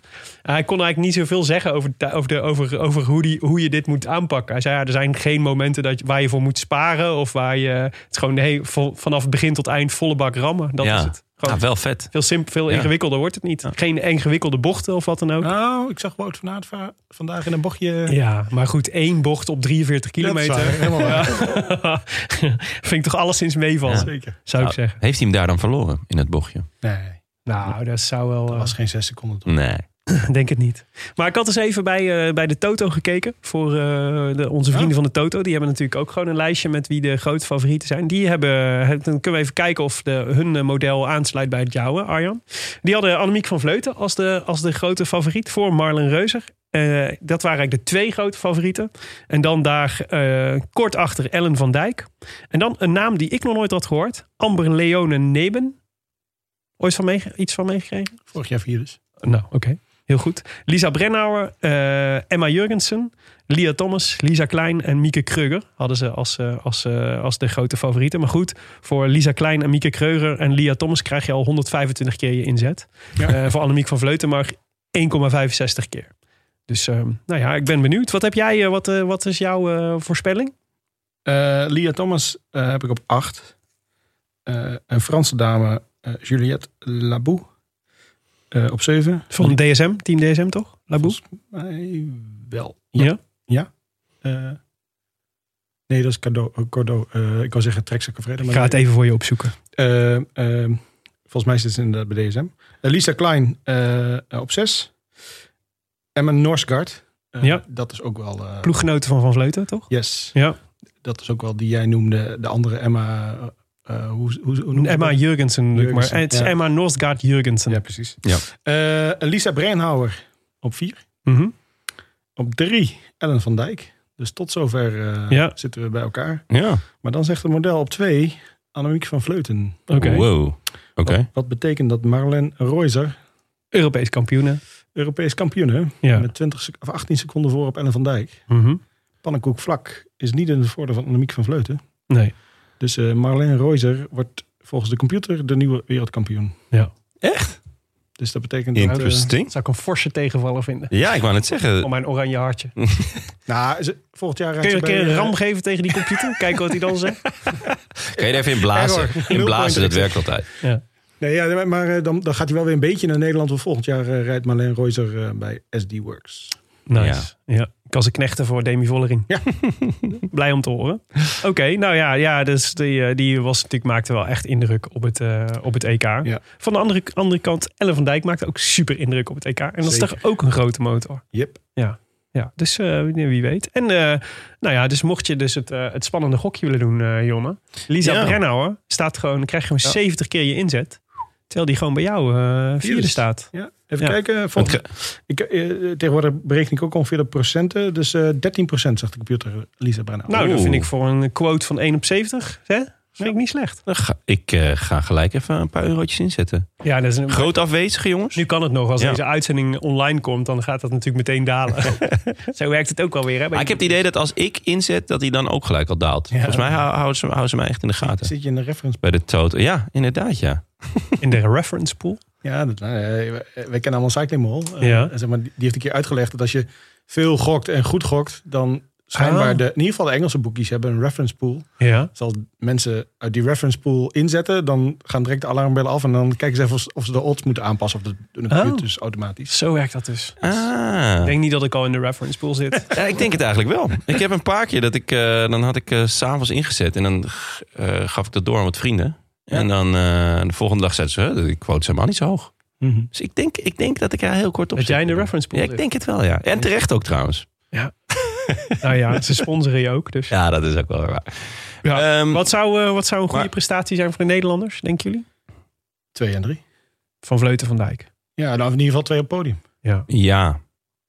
[SPEAKER 2] hij kon eigenlijk niet zoveel zeggen over, de, over, de, over, over hoe, die, hoe je dit moet aanpakken. Hij zei, ja, er zijn geen momenten dat, je- waar je voor moet sparen. Of waar je... Het is gewoon nee, vol- vanaf begin tot eind volle bak rammen. Dat
[SPEAKER 1] ja.
[SPEAKER 2] is het. Gewoon
[SPEAKER 1] Ah, wel vet.
[SPEAKER 2] Veel, simp, veel
[SPEAKER 1] Ja.
[SPEAKER 2] ingewikkelder wordt het niet. Geen ingewikkelde bochten of wat dan ook.
[SPEAKER 3] Nou, ik zag Wout van Aert va- vandaag in een bochtje...
[SPEAKER 2] Ja, maar goed, één bocht op 43
[SPEAKER 3] Dat is waar,
[SPEAKER 2] kilometer.
[SPEAKER 3] helemaal waar.
[SPEAKER 2] Ja. Vind ik toch alleszins meevallen,
[SPEAKER 3] Zeker.
[SPEAKER 2] zou ik
[SPEAKER 1] Nou,
[SPEAKER 2] zeggen.
[SPEAKER 1] Heeft hij hem daar dan verloren in het bochtje?
[SPEAKER 3] Nee,
[SPEAKER 2] Nou, dat zou wel...
[SPEAKER 3] dat was geen zes seconden. toch?
[SPEAKER 1] Nee.
[SPEAKER 2] Denk het niet. Maar ik had eens even bij, eh, bij de Toto gekeken. Voor eh, de, onze vrienden van de Toto. Die hebben natuurlijk ook gewoon een lijstje met wie de grote favorieten zijn. Die hebben. eh, het- Dan kunnen we even kijken of de, hun eh, model aansluit bij het jouwe, Arjan. Die hadden Annemiek van Vleuten als de, als de grote favoriet voor Marlen Reuzer. Eh, dat waren eigenlijk de twee grote favorieten. En dan daar eh, kort achter Ellen van Dijk. En dan een naam die ik nog nooit had gehoord: Amber Leone Neben. Ooit van mee, iets van meegekregen?
[SPEAKER 3] Vorig jaar vier dus.
[SPEAKER 2] Nou, oké. Heel goed. Lisa Brennauer, eh, Emma Jurgensen, Lia Thomas, Lisa Klein en Mieke Kreuger hadden ze als, eh, als, eh, als de grote favorieten. Maar goed, voor Lisa Klein en Mieke Kreuger en Lia Thomas krijg je al 125 keer je inzet. Eh, voor Annemiek van Vleuten maar 1,65 keer. Dus ehm, nou ja, ik ben benieuwd. Wat heb jij? eh, wat, eh, wat is jouw eh, voorspelling?
[SPEAKER 3] Eh, Lia Thomas eh, heb ik op 8. een Franse dame, eh, Juliette Labou, eh, op 7.
[SPEAKER 2] Van DSM, Team DSM toch? Laboe?
[SPEAKER 3] wel.
[SPEAKER 2] Ja.
[SPEAKER 3] Eh, nee, dat is Cordo. eh, Cordo. Eh, ik wil zeggen Trekzakken Vrede.
[SPEAKER 2] Ik ga het even voor je opzoeken.
[SPEAKER 3] Eh, eh, volgens mij zit ze inderdaad bij DSM. Eh, Lisa Klein eh, op 6. Emma Norsgaard. Eh,
[SPEAKER 2] Ja.
[SPEAKER 3] Dat is ook wel... eh,
[SPEAKER 2] Ploeggenoten van Van Vleuten, toch?
[SPEAKER 3] Yes.
[SPEAKER 2] Ja.
[SPEAKER 3] Dat is ook wel die jij noemde. De andere Emma... eh, hoe, hoe, hoe noem je
[SPEAKER 2] Emma
[SPEAKER 3] dat?
[SPEAKER 2] Jurgensen, natuurlijk, maar.
[SPEAKER 3] Jurgensen,
[SPEAKER 2] Het is
[SPEAKER 3] ja.
[SPEAKER 2] Emma Northgaard Jurgensen.
[SPEAKER 3] Ja, precies.
[SPEAKER 1] Ja.
[SPEAKER 3] Eh, Lisa Breinhauer op vier.
[SPEAKER 2] Mhm.
[SPEAKER 3] Op drie Ellen van Dijk. Dus tot zover eh,
[SPEAKER 2] Ja.
[SPEAKER 3] zitten we bij elkaar.
[SPEAKER 1] Ja.
[SPEAKER 3] Maar dan zegt het model op twee Annemiek van Vleuten.
[SPEAKER 2] Oké.
[SPEAKER 1] Wow. Oké. Oh.
[SPEAKER 3] Wat, wat betekent dat Marlen Reuser
[SPEAKER 2] Europees kampioenen.
[SPEAKER 3] Europees kampioen hè?
[SPEAKER 2] Ja.
[SPEAKER 3] Met 20 sec- of 18 seconden voor op Ellen van Dijk.
[SPEAKER 2] Mhm.
[SPEAKER 3] Pannenkoek vlak is niet in het voordeel van Annemiek van Vleuten.
[SPEAKER 2] Nee.
[SPEAKER 3] Dus eh Marlen Reuser wordt volgens de computer de nieuwe wereldkampioen.
[SPEAKER 2] Ja.
[SPEAKER 1] Echt?
[SPEAKER 3] Dus dat betekent... dat, eh,
[SPEAKER 1] Interesting.
[SPEAKER 2] Zou ik een forse tegenvaller vinden.
[SPEAKER 1] Ja, ik wou net
[SPEAKER 2] Om
[SPEAKER 1] zeggen.
[SPEAKER 2] mijn oranje hartje.
[SPEAKER 3] nou, ze- volgend jaar... rijdt
[SPEAKER 2] Kun je
[SPEAKER 3] ze
[SPEAKER 2] een keer
[SPEAKER 3] bij,
[SPEAKER 2] een
[SPEAKER 3] eh,
[SPEAKER 2] ram geven tegen die computer? Kijken wat hij dan zegt.
[SPEAKER 1] Kan je er even in blazen?
[SPEAKER 3] Error.
[SPEAKER 1] In blazen, dat
[SPEAKER 3] Nul
[SPEAKER 1] werkt altijd.
[SPEAKER 3] Nee, ja, maar- maar eh, dan, dan gaat hij wel weer een beetje naar Nederland. Want volgend jaar eh, rijdt Marleen Reuser eh, bij SD Works.
[SPEAKER 2] Nice. Ja. Ik was een knechten voor Demi Vollering.
[SPEAKER 3] Ja.
[SPEAKER 2] Blij om te horen. Oké, nou ja, ja dus die, eh, die was natuurlijk, maakte wel echt indruk op het, eh, op het EK. Van de andere, andere kant, Ellen van Dijk maakte ook super indruk op het EK. En dat is
[SPEAKER 3] Zeker.
[SPEAKER 2] toch ook een grote motor.
[SPEAKER 3] Yep.
[SPEAKER 2] Ja, dus eh, wie weet. En eh, nou ja, dus mocht je dus het, eh, het spannende gokje willen doen, eh Jonne. Lisa
[SPEAKER 1] Ja.
[SPEAKER 2] Brennauer staat gewoon, dan krijg je gewoon
[SPEAKER 3] Ja.
[SPEAKER 2] 70 keer je inzet. Terwijl die gewoon bij jou eh, vierde
[SPEAKER 3] Vierde.
[SPEAKER 2] staat.
[SPEAKER 3] Ja, even
[SPEAKER 2] Ja.
[SPEAKER 3] kijken. Volgens, ik, eh, tegenwoordig bereken ik ook ongeveer de procenten. Dus eh 13% zag de computer, Lisa Brenner.
[SPEAKER 2] Nou, dat
[SPEAKER 1] Oeh.
[SPEAKER 2] vind ik voor een quote van 1 op 70. Hè? Dat vind ik niet slecht.
[SPEAKER 1] Dan ga, ik eh, ga gelijk even een paar eurotjes inzetten.
[SPEAKER 2] Ja, dat is een...
[SPEAKER 1] Groot afwezige, jongens.
[SPEAKER 2] Nu kan het nog. Als
[SPEAKER 1] Ja.
[SPEAKER 2] deze uitzending online komt, dan gaat dat natuurlijk meteen dalen. Zo werkt het ook alweer. Hè? bij
[SPEAKER 1] Maar Ah, ik heb het idee dat als ik inzet, dat hij dan ook gelijk al daalt. Volgens mij hou- houden ze, houden ze mij echt in de gaten.
[SPEAKER 3] Zit je in de reference?
[SPEAKER 1] Bij de total. Ja, inderdaad, ja.
[SPEAKER 2] in de reference pool.
[SPEAKER 3] Ja, dat, nou, eh, wij kennen allemaal Cycling Mall. Eh,
[SPEAKER 2] Ja.
[SPEAKER 3] zeg maar, die die heeft een keer uitgelegd dat als je veel gokt en goed gokt, dan schijnbaar
[SPEAKER 2] Ah.
[SPEAKER 3] de, in ieder geval de Engelse boekjes hebben een reference pool.
[SPEAKER 2] Ja.
[SPEAKER 3] Dus als mensen uit die reference pool inzetten, dan gaan direct de alarmbellen af en dan kijken ze even of, ze- of ze de odds moeten aanpassen. Of dat doen de
[SPEAKER 2] Oh.
[SPEAKER 3] computer dus automatisch.
[SPEAKER 2] Zo werkt dat dus. Ik
[SPEAKER 1] Ah.
[SPEAKER 2] denk niet dat ik al in de reference pool zit.
[SPEAKER 1] Ja, ik denk het eigenlijk wel. Ik heb een paar keer dat ik, eh, dan had ik eh, s s'avonds ingezet en dan eh, gaf ik dat door aan wat vrienden. En dan eh, de volgende dag zeiden ze, "Huh, die quotes zijn maar niet zo hoog. Dus ik denk, ik denk dat ik er heel kort op
[SPEAKER 2] Mhm. Dat
[SPEAKER 1] zit.
[SPEAKER 2] jij in de reference pool
[SPEAKER 1] Ja, ik
[SPEAKER 2] zit.
[SPEAKER 1] denk het wel, ja. En terecht ook trouwens.
[SPEAKER 2] Nou ja, ze sponsoren je ook. Dus.
[SPEAKER 1] Ja, dat is ook wel weer waar.
[SPEAKER 2] Ja.
[SPEAKER 1] Ehm,
[SPEAKER 2] Wat, zou, eh, wat zou een goede
[SPEAKER 1] Maar-
[SPEAKER 2] prestatie zijn voor de Nederlanders, denken jullie?
[SPEAKER 3] Twee en drie.
[SPEAKER 2] Van Vleuten van Dijk.
[SPEAKER 3] Ja, nou, in ieder geval twee op het podium.
[SPEAKER 2] Ja.
[SPEAKER 1] Ja,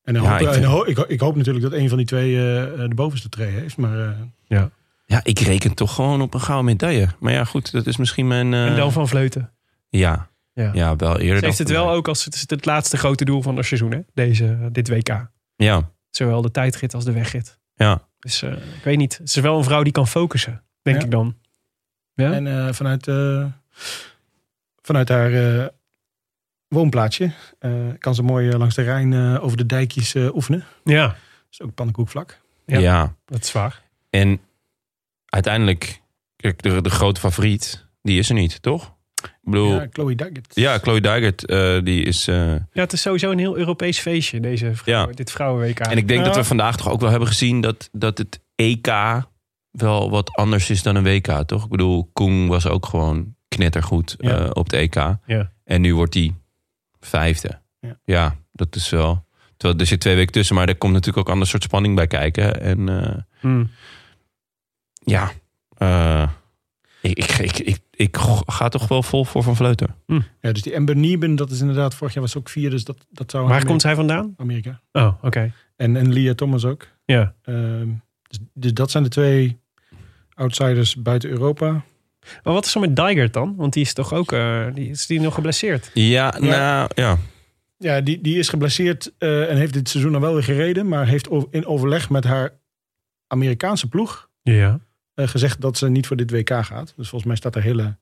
[SPEAKER 3] En dan
[SPEAKER 1] Ja,
[SPEAKER 3] hoop-
[SPEAKER 1] ik
[SPEAKER 3] en
[SPEAKER 1] vind-
[SPEAKER 3] ho- ik, ho- ik hoop natuurlijk dat een van die twee eh, eh, de bovenste tree heeft. Maar eh,
[SPEAKER 1] ja, ik reken toch gewoon op een gouden medaille. Maar ja, goed, dat is misschien mijn... eh,
[SPEAKER 2] En dan van Vleuten.
[SPEAKER 1] Ja.
[SPEAKER 2] Ja.
[SPEAKER 1] Ja. wel eerder.
[SPEAKER 2] Ze heeft
[SPEAKER 1] dan-
[SPEAKER 2] het wel ook als het, is het laatste grote doel van het seizoen, hè? Deze, eh, dit WK.
[SPEAKER 1] Ja,
[SPEAKER 2] Zowel de tijdrit als de wegrit.
[SPEAKER 1] ja.
[SPEAKER 2] Dus eh, ik weet niet. Ze is wel een vrouw die kan focussen, denk
[SPEAKER 3] Ja.
[SPEAKER 2] ik dan. Ja?
[SPEAKER 3] En eh, vanuit, eh, vanuit haar eh, woonplaatsje eh, kan ze mooi eh, langs de Rijn eh, over de dijkjes eh, oefenen.
[SPEAKER 2] ja,
[SPEAKER 3] Dus ook pannenkoekvlak.
[SPEAKER 2] Ja.
[SPEAKER 1] ja.
[SPEAKER 2] dat is waar.
[SPEAKER 1] En uiteindelijk, kijk, de, de grote favoriet, die is er niet, toch? Ik bedoel,
[SPEAKER 3] Ja,
[SPEAKER 1] ja,
[SPEAKER 3] Chloe Duggett.
[SPEAKER 1] Chloe Dijkert, eh, die is... eh,
[SPEAKER 2] Ja, het is sowieso een heel Europees feestje, deze vrouw,
[SPEAKER 1] Ja.
[SPEAKER 2] dit vrouwen-WK.
[SPEAKER 1] en ik denk
[SPEAKER 3] Ja.
[SPEAKER 1] dat we vandaag toch ook wel hebben gezien dat, dat het EK wel wat anders is dan een WK, toch? Ik bedoel, Koen was ook gewoon knettergoed
[SPEAKER 3] Ja.
[SPEAKER 1] eh, op het EK.
[SPEAKER 2] Ja.
[SPEAKER 1] En nu wordt hij vijfde.
[SPEAKER 3] Ja.
[SPEAKER 1] dat is wel... Terwijl, er zit twee weken tussen, maar er komt natuurlijk ook een ander soort spanning bij kijken. En... eh,
[SPEAKER 2] Hmm.
[SPEAKER 1] Ja. eh, ik, ik, ik, ik, ik ga toch wel vol voor Van Vleuten.
[SPEAKER 3] Ja, dus die Amber Nieben, dat is inderdaad, vorig jaar was ze ook vier, dus dat, dat zou...
[SPEAKER 2] Waar
[SPEAKER 3] Amerika-
[SPEAKER 2] komt zij vandaan?
[SPEAKER 3] Amerika.
[SPEAKER 2] Oh, oké.
[SPEAKER 3] En, en Leah Thomas ook.
[SPEAKER 2] Ja.
[SPEAKER 3] Ehm, dus, dus dat zijn de twee outsiders buiten Europa.
[SPEAKER 2] Maar wat is er met Digert dan? Want die is toch ook, eh, die, is die nog geblesseerd?
[SPEAKER 1] Ja, nou ja.
[SPEAKER 3] Ja, die, die is geblesseerd eh, en heeft dit seizoen dan wel weer gereden, maar heeft o- in overleg met haar Amerikaanse ploeg
[SPEAKER 2] Ja.
[SPEAKER 3] eh, gezegd dat ze niet voor dit WK gaat. Dus volgens mij staat de hele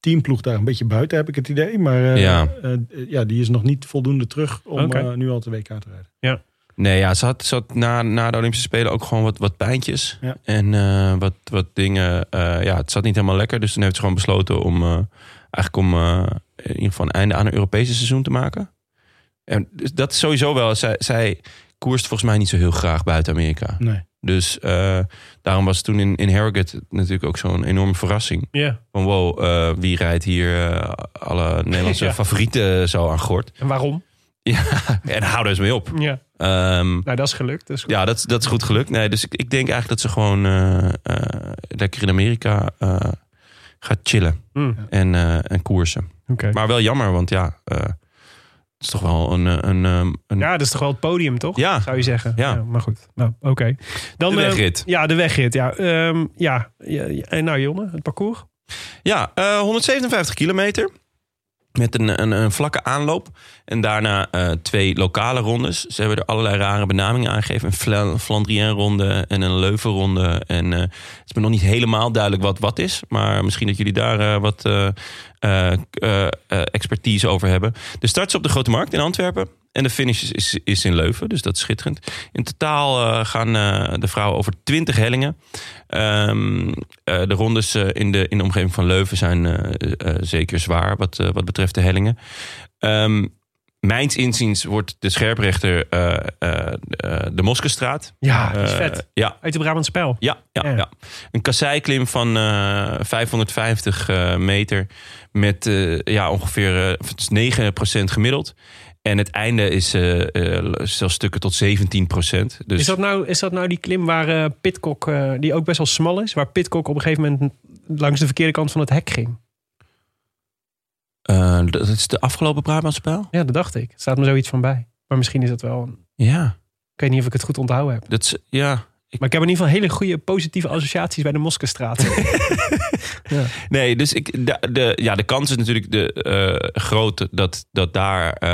[SPEAKER 3] teamploeg daar een beetje buiten, heb ik het idee. Maar eh,
[SPEAKER 1] Ja.
[SPEAKER 3] eh, eh, ja, die is nog niet voldoende terug om
[SPEAKER 2] Oké.
[SPEAKER 3] eh, nu al de WK te rijden.
[SPEAKER 1] Nee, ja, ze had, ze had na, na de Olympische Spelen ook gewoon wat, wat pijntjes.
[SPEAKER 3] Ja.
[SPEAKER 1] En eh, wat, wat dingen. eh, ja, het zat niet helemaal lekker. Dus toen heeft ze gewoon besloten om eh, eigenlijk om eh, in ieder geval een einde aan een Europese seizoen te maken. En dus dat is sowieso wel. Zij, zij koerst volgens mij niet zo heel graag buiten Amerika.
[SPEAKER 3] Nee.
[SPEAKER 1] Dus eh, daarom was toen in, in Harrogate natuurlijk ook zo'n enorme verrassing.
[SPEAKER 2] Ja.
[SPEAKER 1] Van wow, eh, wie rijdt hier eh, alle Nederlandse
[SPEAKER 2] Ja.
[SPEAKER 1] favorieten zo aan gort?
[SPEAKER 2] En waarom?
[SPEAKER 1] Ja, en hou er eens mee op.
[SPEAKER 2] Ja.
[SPEAKER 1] Ehm,
[SPEAKER 2] Nou, dat is gelukt. Dus
[SPEAKER 1] ja, dat, is- dat is goed gelukt. Nee, dus ik, ik denk eigenlijk dat ze gewoon eh, eh, lekker in Amerika eh, gaat chillen
[SPEAKER 2] Hmm.
[SPEAKER 1] en, eh, en koersen.
[SPEAKER 2] Oké.
[SPEAKER 1] Maar wel jammer, want ja, eh, het is toch wel een... eh, een, ehm, een
[SPEAKER 2] Ja, dat is toch wel het podium, toch?
[SPEAKER 1] Ja.
[SPEAKER 2] Zou je zeggen.
[SPEAKER 1] Ja.
[SPEAKER 2] maar goed. Nou, oké. Dan
[SPEAKER 1] De
[SPEAKER 2] eh,
[SPEAKER 1] wegrit.
[SPEAKER 2] ja, de wegrit. Ja. Ehm, ja. Ja, ja. En nou, Jonne, het parcours?
[SPEAKER 1] Ja, eh, 157 kilometer. Met een, een, een vlakke aanloop. En daarna eh, twee lokale rondes. Ze hebben er allerlei rare benamingen aangegeven. Een Fla- Flandrien-ronde en een Leuven-ronde. En eh, het is me nog niet helemaal duidelijk wat wat is. Maar misschien dat jullie daar eh, wat eh, eh, eh, eh, expertise over hebben. De start is op de Grote Markt in Antwerpen. En de finish is, is, is in Leuven. Dus dat is schitterend. In totaal eh, gaan eh, de vrouwen over 20 hellingen. Ehm, eh, de rondes eh, in, de, in de omgeving van Leuven zijn eh, eh, zeker zwaar wat, eh, wat betreft de hellingen. Ehm mijns inziens wordt de scherprechter eh, eh, eh, de Moskestraat.
[SPEAKER 2] Ja, dat Ah, is
[SPEAKER 1] Eh,
[SPEAKER 2] vet.
[SPEAKER 1] Ja,
[SPEAKER 2] Uit de Brabant Spel.
[SPEAKER 1] ja, ja,
[SPEAKER 2] Ja.
[SPEAKER 1] ja. Een kasseiklim van eh, 550 eh, meter met eh, ja, ongeveer eh, het is 9% gemiddeld. En het einde is eh, eh, zelfs stukken tot 17%. Dus
[SPEAKER 2] Is, dat nou, is dat nou die klim waar eh Pitcock, eh, die ook best wel smal is, waar Pitcock op een gegeven moment langs de verkeerde kant van het hek ging?
[SPEAKER 1] Eh, dat is de afgelopen Brabantspel?
[SPEAKER 2] Ja, dat dacht ik. Er staat me zoiets van bij. Maar misschien is dat wel... een-
[SPEAKER 1] Ja.
[SPEAKER 2] Ik weet niet of ik het goed onthouden heb.
[SPEAKER 1] Dat is, ja.
[SPEAKER 2] Maar ik heb in ieder geval hele goede positieve associaties bij de Moskestraat.
[SPEAKER 1] Nee, dus ik, de, de- ja, de kans is natuurlijk de, eh, groot dat, dat daar eh,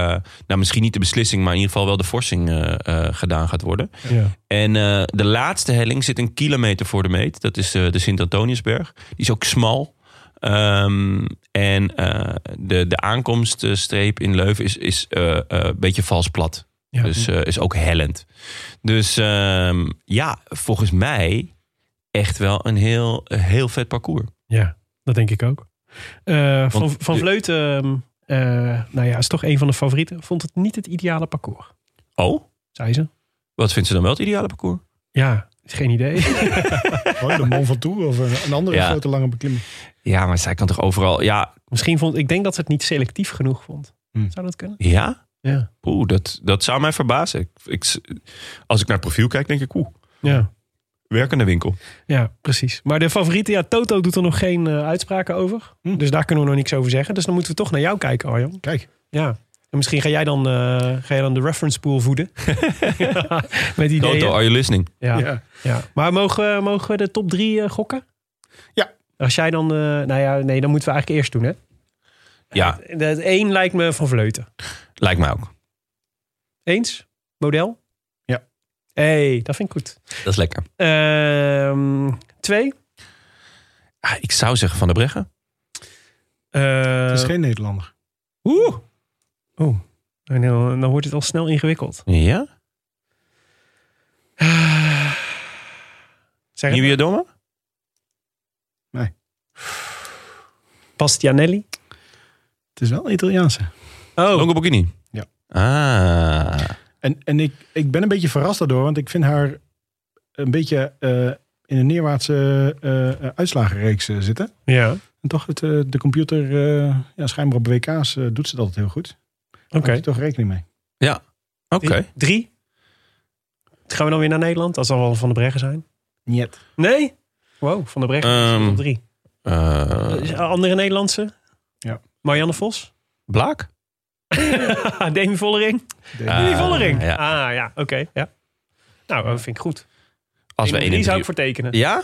[SPEAKER 1] nou, misschien niet de beslissing, maar in ieder geval wel de forsing eh, eh, gedaan gaat worden.
[SPEAKER 2] ja.
[SPEAKER 1] En eh, de laatste helling zit een kilometer voor de meet. Dat is eh, de Sint-Antoniusberg. Die is ook smal. Ehm, en eh, de, de aankomststreep in Leuven is, is eh, eh, een beetje vals plat.
[SPEAKER 2] Ja.
[SPEAKER 1] Dus eh, is ook hellend. Dus ehm, ja, volgens mij echt wel een heel, een heel vet parcours.
[SPEAKER 2] Ja, dat denk ik ook. Eh, van,
[SPEAKER 1] Want
[SPEAKER 2] van
[SPEAKER 1] de-
[SPEAKER 2] Vleut, ehm, eh, nou ja, is toch een van de favorieten. Vond het niet het ideale parcours,
[SPEAKER 1] Oh,
[SPEAKER 2] zei ze.
[SPEAKER 1] wat vindt ze dan wel het ideale parcours?
[SPEAKER 2] Ja, geen idee.
[SPEAKER 3] Gewoon de Mont Ventoux of eh, een, een andere
[SPEAKER 1] Ja.
[SPEAKER 3] grote lange beklimming.
[SPEAKER 1] Ja, maar zij kan toch overal... Ja,
[SPEAKER 2] Misschien vond ik denk dat ze het niet selectief genoeg vond.
[SPEAKER 3] Hm.
[SPEAKER 2] Zou dat kunnen?
[SPEAKER 1] ja?
[SPEAKER 2] Ja.
[SPEAKER 1] Oeh, dat, dat zou mij verbazen. Ik, ik- als ik naar het profiel kijk, denk ik, oeh,
[SPEAKER 2] Ja.
[SPEAKER 1] werk aan de winkel.
[SPEAKER 2] ja, precies. Maar de favorieten, ja, Toto doet er nog geen eh, uitspraken over. Dus daar kunnen we nog niks over zeggen. Dus dan moeten we toch naar jou kijken, Arjan.
[SPEAKER 3] Kijk,
[SPEAKER 2] Ja. En misschien ga jij dan, eh, ga jij dan de reference pool voeden. Met ideeën.
[SPEAKER 1] Toto, are you listening?
[SPEAKER 2] Ja.
[SPEAKER 3] ja.
[SPEAKER 2] Ja, maar mogen, we- mogen we de top drie eh, gokken?
[SPEAKER 3] Ja.
[SPEAKER 2] Als jij dan, eh, nou ja, nee, dan moeten we eigenlijk eerst doen, hè?
[SPEAKER 1] Ja,
[SPEAKER 2] Dat één lijkt me van Vleuten.
[SPEAKER 1] lijkt mij ook.
[SPEAKER 2] Eens? Model?
[SPEAKER 3] Ja.
[SPEAKER 2] hey, dat vind ik goed.
[SPEAKER 1] Dat is lekker.
[SPEAKER 2] Ehm, twee?
[SPEAKER 1] Ah, ik zou zeggen Van der Breggen.
[SPEAKER 2] Eh,
[SPEAKER 3] het is geen Nederlander.
[SPEAKER 2] Oeh. Oeh. Oh. En Dan, dan wordt het al snel ingewikkeld.
[SPEAKER 1] Ja?
[SPEAKER 2] Zeg het.
[SPEAKER 1] Nieuwe Domme?
[SPEAKER 2] Bastianelli?
[SPEAKER 3] Het is wel een Italiaanse.
[SPEAKER 2] Oh.
[SPEAKER 1] Longo Bocchini?
[SPEAKER 3] Ja.
[SPEAKER 1] Ah.
[SPEAKER 3] En, en ik, ik ben een beetje verrast daardoor, want ik vind haar een beetje eh, in een neerwaartse eh, eh, uitslagenreeks eh, zitten.
[SPEAKER 2] Ja,
[SPEAKER 3] En toch, het, eh, de computer, eh, ja, schijnbaar op WK's, eh, doet ze dat altijd heel goed.
[SPEAKER 2] oké.
[SPEAKER 3] Daar je toch rekening mee.
[SPEAKER 1] Oké.
[SPEAKER 2] Drie- Drie? Gaan we dan weer naar Nederland? Dat zal wel Van de Breggen zijn.
[SPEAKER 3] Niet.
[SPEAKER 2] Nee? Wow, Van de Breggen
[SPEAKER 1] Ehm,
[SPEAKER 2] is op drie.
[SPEAKER 1] Eh,
[SPEAKER 2] Is er andere Nederlandse?
[SPEAKER 3] Ja.
[SPEAKER 2] Marianne Vos?
[SPEAKER 1] Blaak?
[SPEAKER 2] Demi Vollering?
[SPEAKER 1] Ah,
[SPEAKER 2] Demi Vollering?
[SPEAKER 1] ja.
[SPEAKER 2] Ah ja, oké. ja. Nou, dat vind ik goed.
[SPEAKER 1] Als we
[SPEAKER 2] Die
[SPEAKER 1] één en
[SPEAKER 2] zou
[SPEAKER 1] drie...
[SPEAKER 2] ik voor tekenen.
[SPEAKER 1] Ja?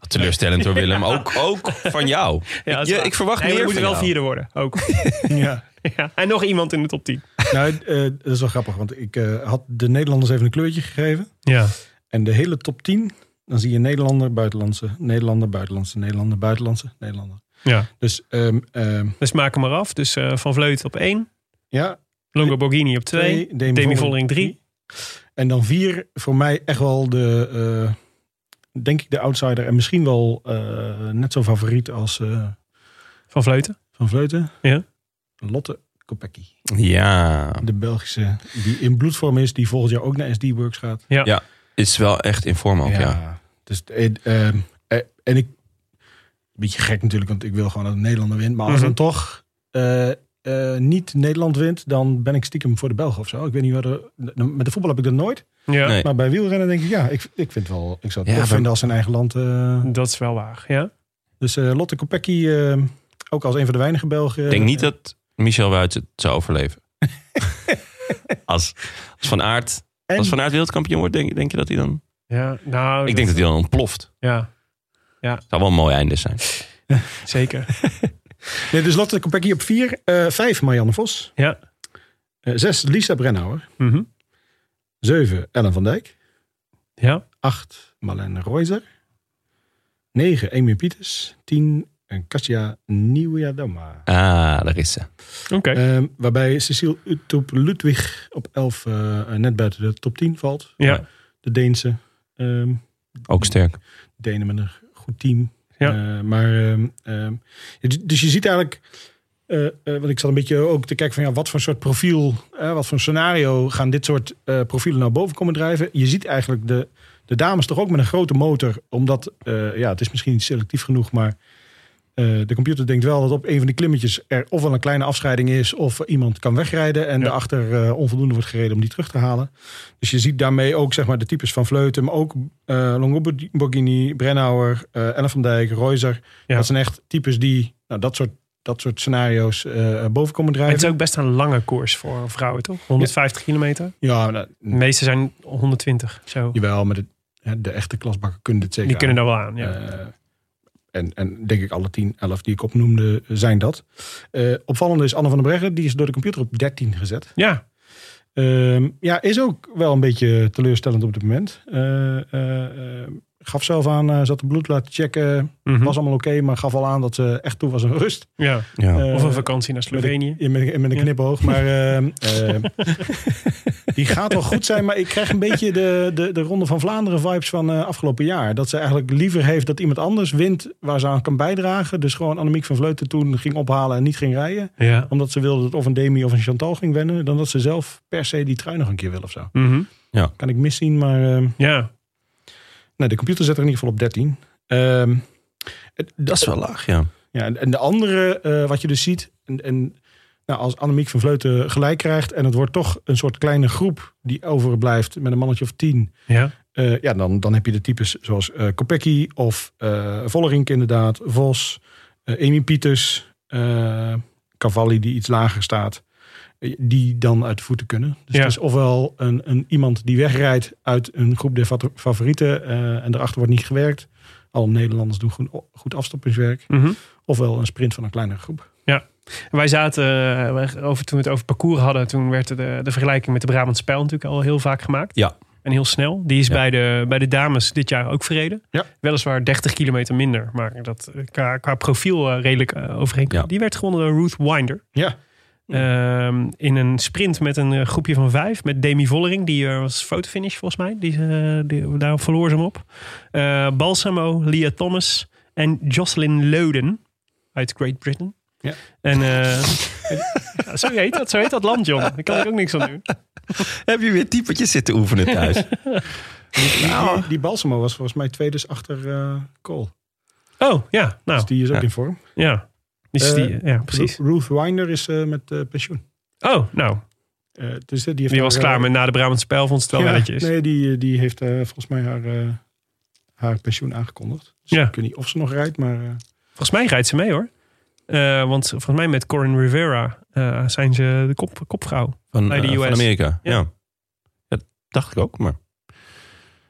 [SPEAKER 1] Wat Teleurstellend door Willem. Ook, ook van jou.
[SPEAKER 2] Ja, dat is
[SPEAKER 1] je-
[SPEAKER 2] waar.
[SPEAKER 1] ik verwacht
[SPEAKER 2] nee,
[SPEAKER 1] meer
[SPEAKER 2] we moeten
[SPEAKER 1] van
[SPEAKER 2] wel
[SPEAKER 1] jou.
[SPEAKER 2] vierde worden. Ook.
[SPEAKER 3] Ja.
[SPEAKER 2] ja. En nog iemand in de top 10.
[SPEAKER 3] Nou, eh, dat is wel grappig, want ik eh, had de Nederlanders even een kleurtje gegeven.
[SPEAKER 2] Ja.
[SPEAKER 3] En de hele top 10, dan zie je Nederlander, buitenlandse, Nederlander, buitenlandse, Nederlander, buitenlandse, Nederlander.
[SPEAKER 2] ja.
[SPEAKER 3] Dus ehm, ehm,
[SPEAKER 2] Dus maak hem maar af. Dus eh, Van Vleut op één.
[SPEAKER 3] ja,
[SPEAKER 2] Longo Borghini op twee.
[SPEAKER 3] Demi,
[SPEAKER 2] Demi Vollering drie.
[SPEAKER 3] En dan vier, voor mij echt wel de, eh, denk ik de outsider. En misschien wel eh, net zo favoriet als eh,
[SPEAKER 2] Van Vleuten.
[SPEAKER 3] Van Vleuten.
[SPEAKER 2] Ja.
[SPEAKER 3] Lotte Kopecky.
[SPEAKER 1] Ja.
[SPEAKER 3] De Belgische, die in bloedvorm is. Die volgend jaar ook naar SD-Works gaat.
[SPEAKER 1] Ja, Is wel echt in vorm ook, ja.
[SPEAKER 3] Dus, eh, eh, eh, en ik, beetje gek natuurlijk, want ik wil gewoon dat een Nederlander wint. Maar als
[SPEAKER 2] Mhm.
[SPEAKER 3] dan toch eh, eh, niet Nederland wint, dan ben ik stiekem voor de Belgen of zo. Ik weet niet, wat er, met de voetbal heb ik dat nooit.
[SPEAKER 2] Ja,
[SPEAKER 1] Nee.
[SPEAKER 3] Maar bij wielrennen denk ik, ja, ik, ik vind het wel. Ik zou het
[SPEAKER 1] Ja,
[SPEAKER 3] tof
[SPEAKER 1] maar-
[SPEAKER 3] vinden als zijn eigen land. eh,
[SPEAKER 2] dat is wel waar. Ja.
[SPEAKER 3] dus eh, Lotte Kopecky, eh, ook als een van de weinige Belgen. eh,
[SPEAKER 1] Ik denk niet dat Michel Wuits het zou overleven. als, als Van Aert...
[SPEAKER 3] En-
[SPEAKER 1] Als Van Aert wereldkampioen wordt, denk, denk je dat hij dan...
[SPEAKER 2] Ja, nou.
[SPEAKER 1] Ik denk dat hij dan ontploft.
[SPEAKER 2] Ja,
[SPEAKER 1] Zou wel een mooi einde zijn.
[SPEAKER 2] zeker.
[SPEAKER 3] Nee, dus Lotte Kopecky op vier. eh, vijf, Marianne Vos.
[SPEAKER 2] Ja.
[SPEAKER 3] Eh, zes, Lisa Brennauer.
[SPEAKER 2] Mhm.
[SPEAKER 3] Zeven, Ellen van Dijk.
[SPEAKER 2] Ja.
[SPEAKER 3] Acht, Marlene Reuser. Negen, Amy Pieters. Tien, eh, Kasia Nieuwiadoma.
[SPEAKER 1] Ah, daar is ze.
[SPEAKER 2] Oké.
[SPEAKER 3] Ehm, waarbij Cecile Utop Ludwig op 11 eh, eh, net buiten de top 10 valt.
[SPEAKER 2] Ja.
[SPEAKER 3] De Deense. ehm,
[SPEAKER 1] Ook sterk.
[SPEAKER 3] Denen met een goed team.
[SPEAKER 2] Ja.
[SPEAKER 3] Eh, maar, ehm, ehm, dus- dus je ziet eigenlijk, eh, eh, want ik zat een beetje ook te kijken van ja, wat voor soort profiel, eh, wat voor scenario gaan dit soort eh, profielen naar boven komen drijven. Je ziet eigenlijk de, de dames toch ook met een grote motor, omdat eh, ja, het is misschien niet selectief genoeg, maar eh, de computer denkt wel dat op een van die klimmetjes er ofwel een kleine afscheiding is, of iemand kan wegrijden en
[SPEAKER 2] Ja.
[SPEAKER 3] daarachter eh, onvoldoende wordt gereden om die terug te halen. Dus je ziet daarmee ook zeg maar, de types van Vleuten, maar ook eh Longoborghini, Brennauer, eh Ellen van Dijk, Reuser.
[SPEAKER 2] Ja.
[SPEAKER 3] Dat zijn echt types die nou, dat soort dat soort scenario's eh, boven komen
[SPEAKER 2] Het
[SPEAKER 3] drijven.
[SPEAKER 2] is ook best een lange koers voor vrouwen, toch? 150 kilometer.
[SPEAKER 3] Ja, nou,
[SPEAKER 2] De meeste zijn 120. Zo.
[SPEAKER 3] jawel, maar de, hè, de echte klasbakken kunnen dit zeker
[SPEAKER 2] Die kunnen
[SPEAKER 3] aan.
[SPEAKER 2] daar wel aan. Ja.
[SPEAKER 3] Eh, en, en denk ik alle 10, 11 die ik opnoemde eh, zijn dat. Eh opvallende is Anne van der Breggen. Die is door de computer op 13 gezet.
[SPEAKER 2] ja.
[SPEAKER 3] Ehm, ja, is ook wel een beetje teleurstellend op dit moment. Eh, eh, eh, gaf zelf aan, eh, zat de bloed laten checken.
[SPEAKER 2] Mhm.
[SPEAKER 3] Was allemaal oké, maar gaf al aan dat ze echt toe was aan rust.
[SPEAKER 2] ja.
[SPEAKER 1] Ja.
[SPEAKER 3] Eh,
[SPEAKER 2] Of een vakantie naar
[SPEAKER 3] met een-
[SPEAKER 2] Slovenië.
[SPEAKER 3] ja, Met een, met een
[SPEAKER 2] Ja.
[SPEAKER 3] knipoog. Maar ehm, ehm, die gaat wel goed zijn. Maar ik krijg een beetje de, de, de Ronde van Vlaanderen vibes van eh, afgelopen jaar. Dat ze eigenlijk liever heeft dat iemand anders wint waar ze aan kan bijdragen. Dus gewoon Annemiek van Vleuten toen ging ophalen en niet ging rijden.
[SPEAKER 2] Ja.
[SPEAKER 3] Omdat ze wilde dat of een Demi of een Chantal ging wennen. Dan dat ze zelf per se die trui nog een keer wil of zo.
[SPEAKER 2] Mhm.
[SPEAKER 3] Kan ik miszien, maar... ehm,
[SPEAKER 2] Ja.
[SPEAKER 3] nou, de computer zet er in ieder geval op 13. Ehm, het-
[SPEAKER 1] Dat is wel laag, ja.
[SPEAKER 3] Ja, en, en de andere, eh, wat je dus ziet, en, en, nou, als Annemiek van Vleuten gelijk krijgt en het wordt toch een soort kleine groep die overblijft met een mannetje of tien,
[SPEAKER 2] Ja.
[SPEAKER 3] eh, ja, dan, dan heb je de types zoals eh Kopecky of eh Vollerink inderdaad, Vos, eh Amy Pieters, eh, Cavalli die iets lager staat, eh, die dan uit de voeten kunnen. Dus
[SPEAKER 2] Ja.
[SPEAKER 3] het is ofwel een, een, iemand die wegrijdt uit een groep der fat- favorieten eh, en daarachter wordt niet gewerkt. Alle Nederlanders doen goed, goed afstoppingswerk
[SPEAKER 2] Mhm.
[SPEAKER 3] ofwel een sprint van een kleinere groep.
[SPEAKER 2] Wij zaten, eh, wij- over, toen we het over parcours hadden, toen werd de, de vergelijking met de Brabant Spijl natuurlijk al heel vaak gemaakt.
[SPEAKER 1] Ja.
[SPEAKER 2] En heel snel. Die is
[SPEAKER 1] Ja.
[SPEAKER 2] bij, de, bij de dames dit jaar ook verreden.
[SPEAKER 3] Ja.
[SPEAKER 2] Weliswaar 30 kilometer minder, maar dat eh, qua, qua profiel eh, redelijk eh, overeenkomt.
[SPEAKER 1] Ja.
[SPEAKER 2] Die werd gewonnen door Ruth Winder.
[SPEAKER 3] Ja.
[SPEAKER 2] Ehm, in een sprint met een eh, groepje van vijf. Met Demi Vollering, die eh, was fotofinish volgens mij. Die, eh, die, daar verloor ze hem op. Eh, Balsamo, Lia Thomas en Jocelyn Loden uit Great Britain.
[SPEAKER 3] Ja.
[SPEAKER 2] En eh, ja, zo, heet dat, zo heet dat land, John. Daar kan ik ook niks aan doen.
[SPEAKER 1] Heb je weer typetjes zitten oefenen thuis? nou,
[SPEAKER 3] Die, die Balsamo was volgens mij twee dus achter eh Cole.
[SPEAKER 2] Oh, ja. Nou,
[SPEAKER 3] Dus die is ook
[SPEAKER 1] ja.
[SPEAKER 3] in vorm.
[SPEAKER 2] ja. Dus die,
[SPEAKER 3] Eh,
[SPEAKER 2] ja, precies.
[SPEAKER 3] Ru- Ruth Winder is eh, met eh, pensioen.
[SPEAKER 2] Oh, nou.
[SPEAKER 3] Eh, dus, eh, die heeft
[SPEAKER 2] Die was
[SPEAKER 3] haar,
[SPEAKER 2] klaar
[SPEAKER 3] eh,
[SPEAKER 2] met na de Brabant Spijl vond ze het wel
[SPEAKER 3] ja,
[SPEAKER 2] welletjes.
[SPEAKER 3] Nee, die, eh, die heeft eh, volgens mij haar, eh, haar pensioen aangekondigd. Dus
[SPEAKER 2] Ja.
[SPEAKER 3] ik weet niet of ze nog rijdt, maar eh,
[SPEAKER 2] Volgens mij rijdt ze mee, hoor. Eh, want volgens mij met Corin Rivera eh, zijn ze de kop, kopvrouw.
[SPEAKER 1] van,
[SPEAKER 2] Bij de
[SPEAKER 1] eh, van
[SPEAKER 2] US.
[SPEAKER 1] Amerika. Ja.
[SPEAKER 2] Ja.
[SPEAKER 1] Dat dacht ik ook, maar...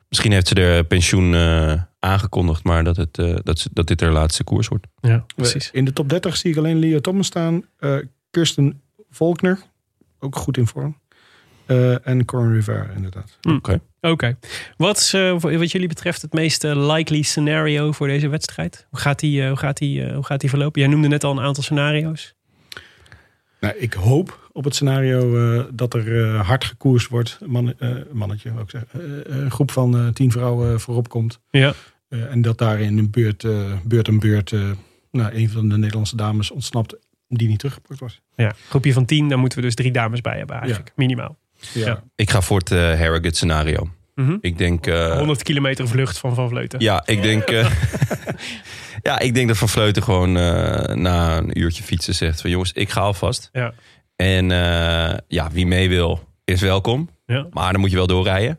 [SPEAKER 1] Misschien heeft ze er pensioen eh, aangekondigd, maar dat, het, eh, dat, ze, dat dit haar laatste koers wordt.
[SPEAKER 2] Ja,
[SPEAKER 3] we-
[SPEAKER 2] precies.
[SPEAKER 3] in de top 30 zie ik alleen Leo Thomas staan. eh, Kirsten Volkner, ook goed in vorm. eh, en Corin Rivera inderdaad.
[SPEAKER 2] Hm. Oké. Wat is eh, voor- wat jullie betreft het meest eh, likely scenario voor deze wedstrijd? Hoe gaat die, eh, hoe gaat die, eh, hoe gaat die verlopen? Jij noemde net al een aantal scenario's.
[SPEAKER 3] Nou, ik hoop op het scenario eh, dat er eh, hard gekoerst wordt. Een Man, eh, een mannetje, wou ik zeggen. Eh, eh, een groep van eh, tien vrouwen voorop komt.
[SPEAKER 2] Ja.
[SPEAKER 3] Eh, en dat daarin een beurt, eh, beurt en beurt eh, nou, een van de Nederlandse dames ontsnapt die niet teruggepakt was.
[SPEAKER 2] Ja, groepje van tien, daar moeten we dus drie dames bij hebben eigenlijk, minimaal. Ja.
[SPEAKER 1] Ik ga voor het eh, Harrogate scenario.
[SPEAKER 2] Mhm.
[SPEAKER 1] Ik denk... eh,
[SPEAKER 2] 100 kilometer vlucht van Van Vleuten.
[SPEAKER 1] Ja, ik denk, eh, ja, ik denk dat Van Vleuten gewoon eh, na een uurtje fietsen zegt van jongens, ik ga alvast.
[SPEAKER 2] Ja.
[SPEAKER 1] En eh, ja, wie mee wil is welkom,
[SPEAKER 2] Ja.
[SPEAKER 1] maar dan moet je wel doorrijden.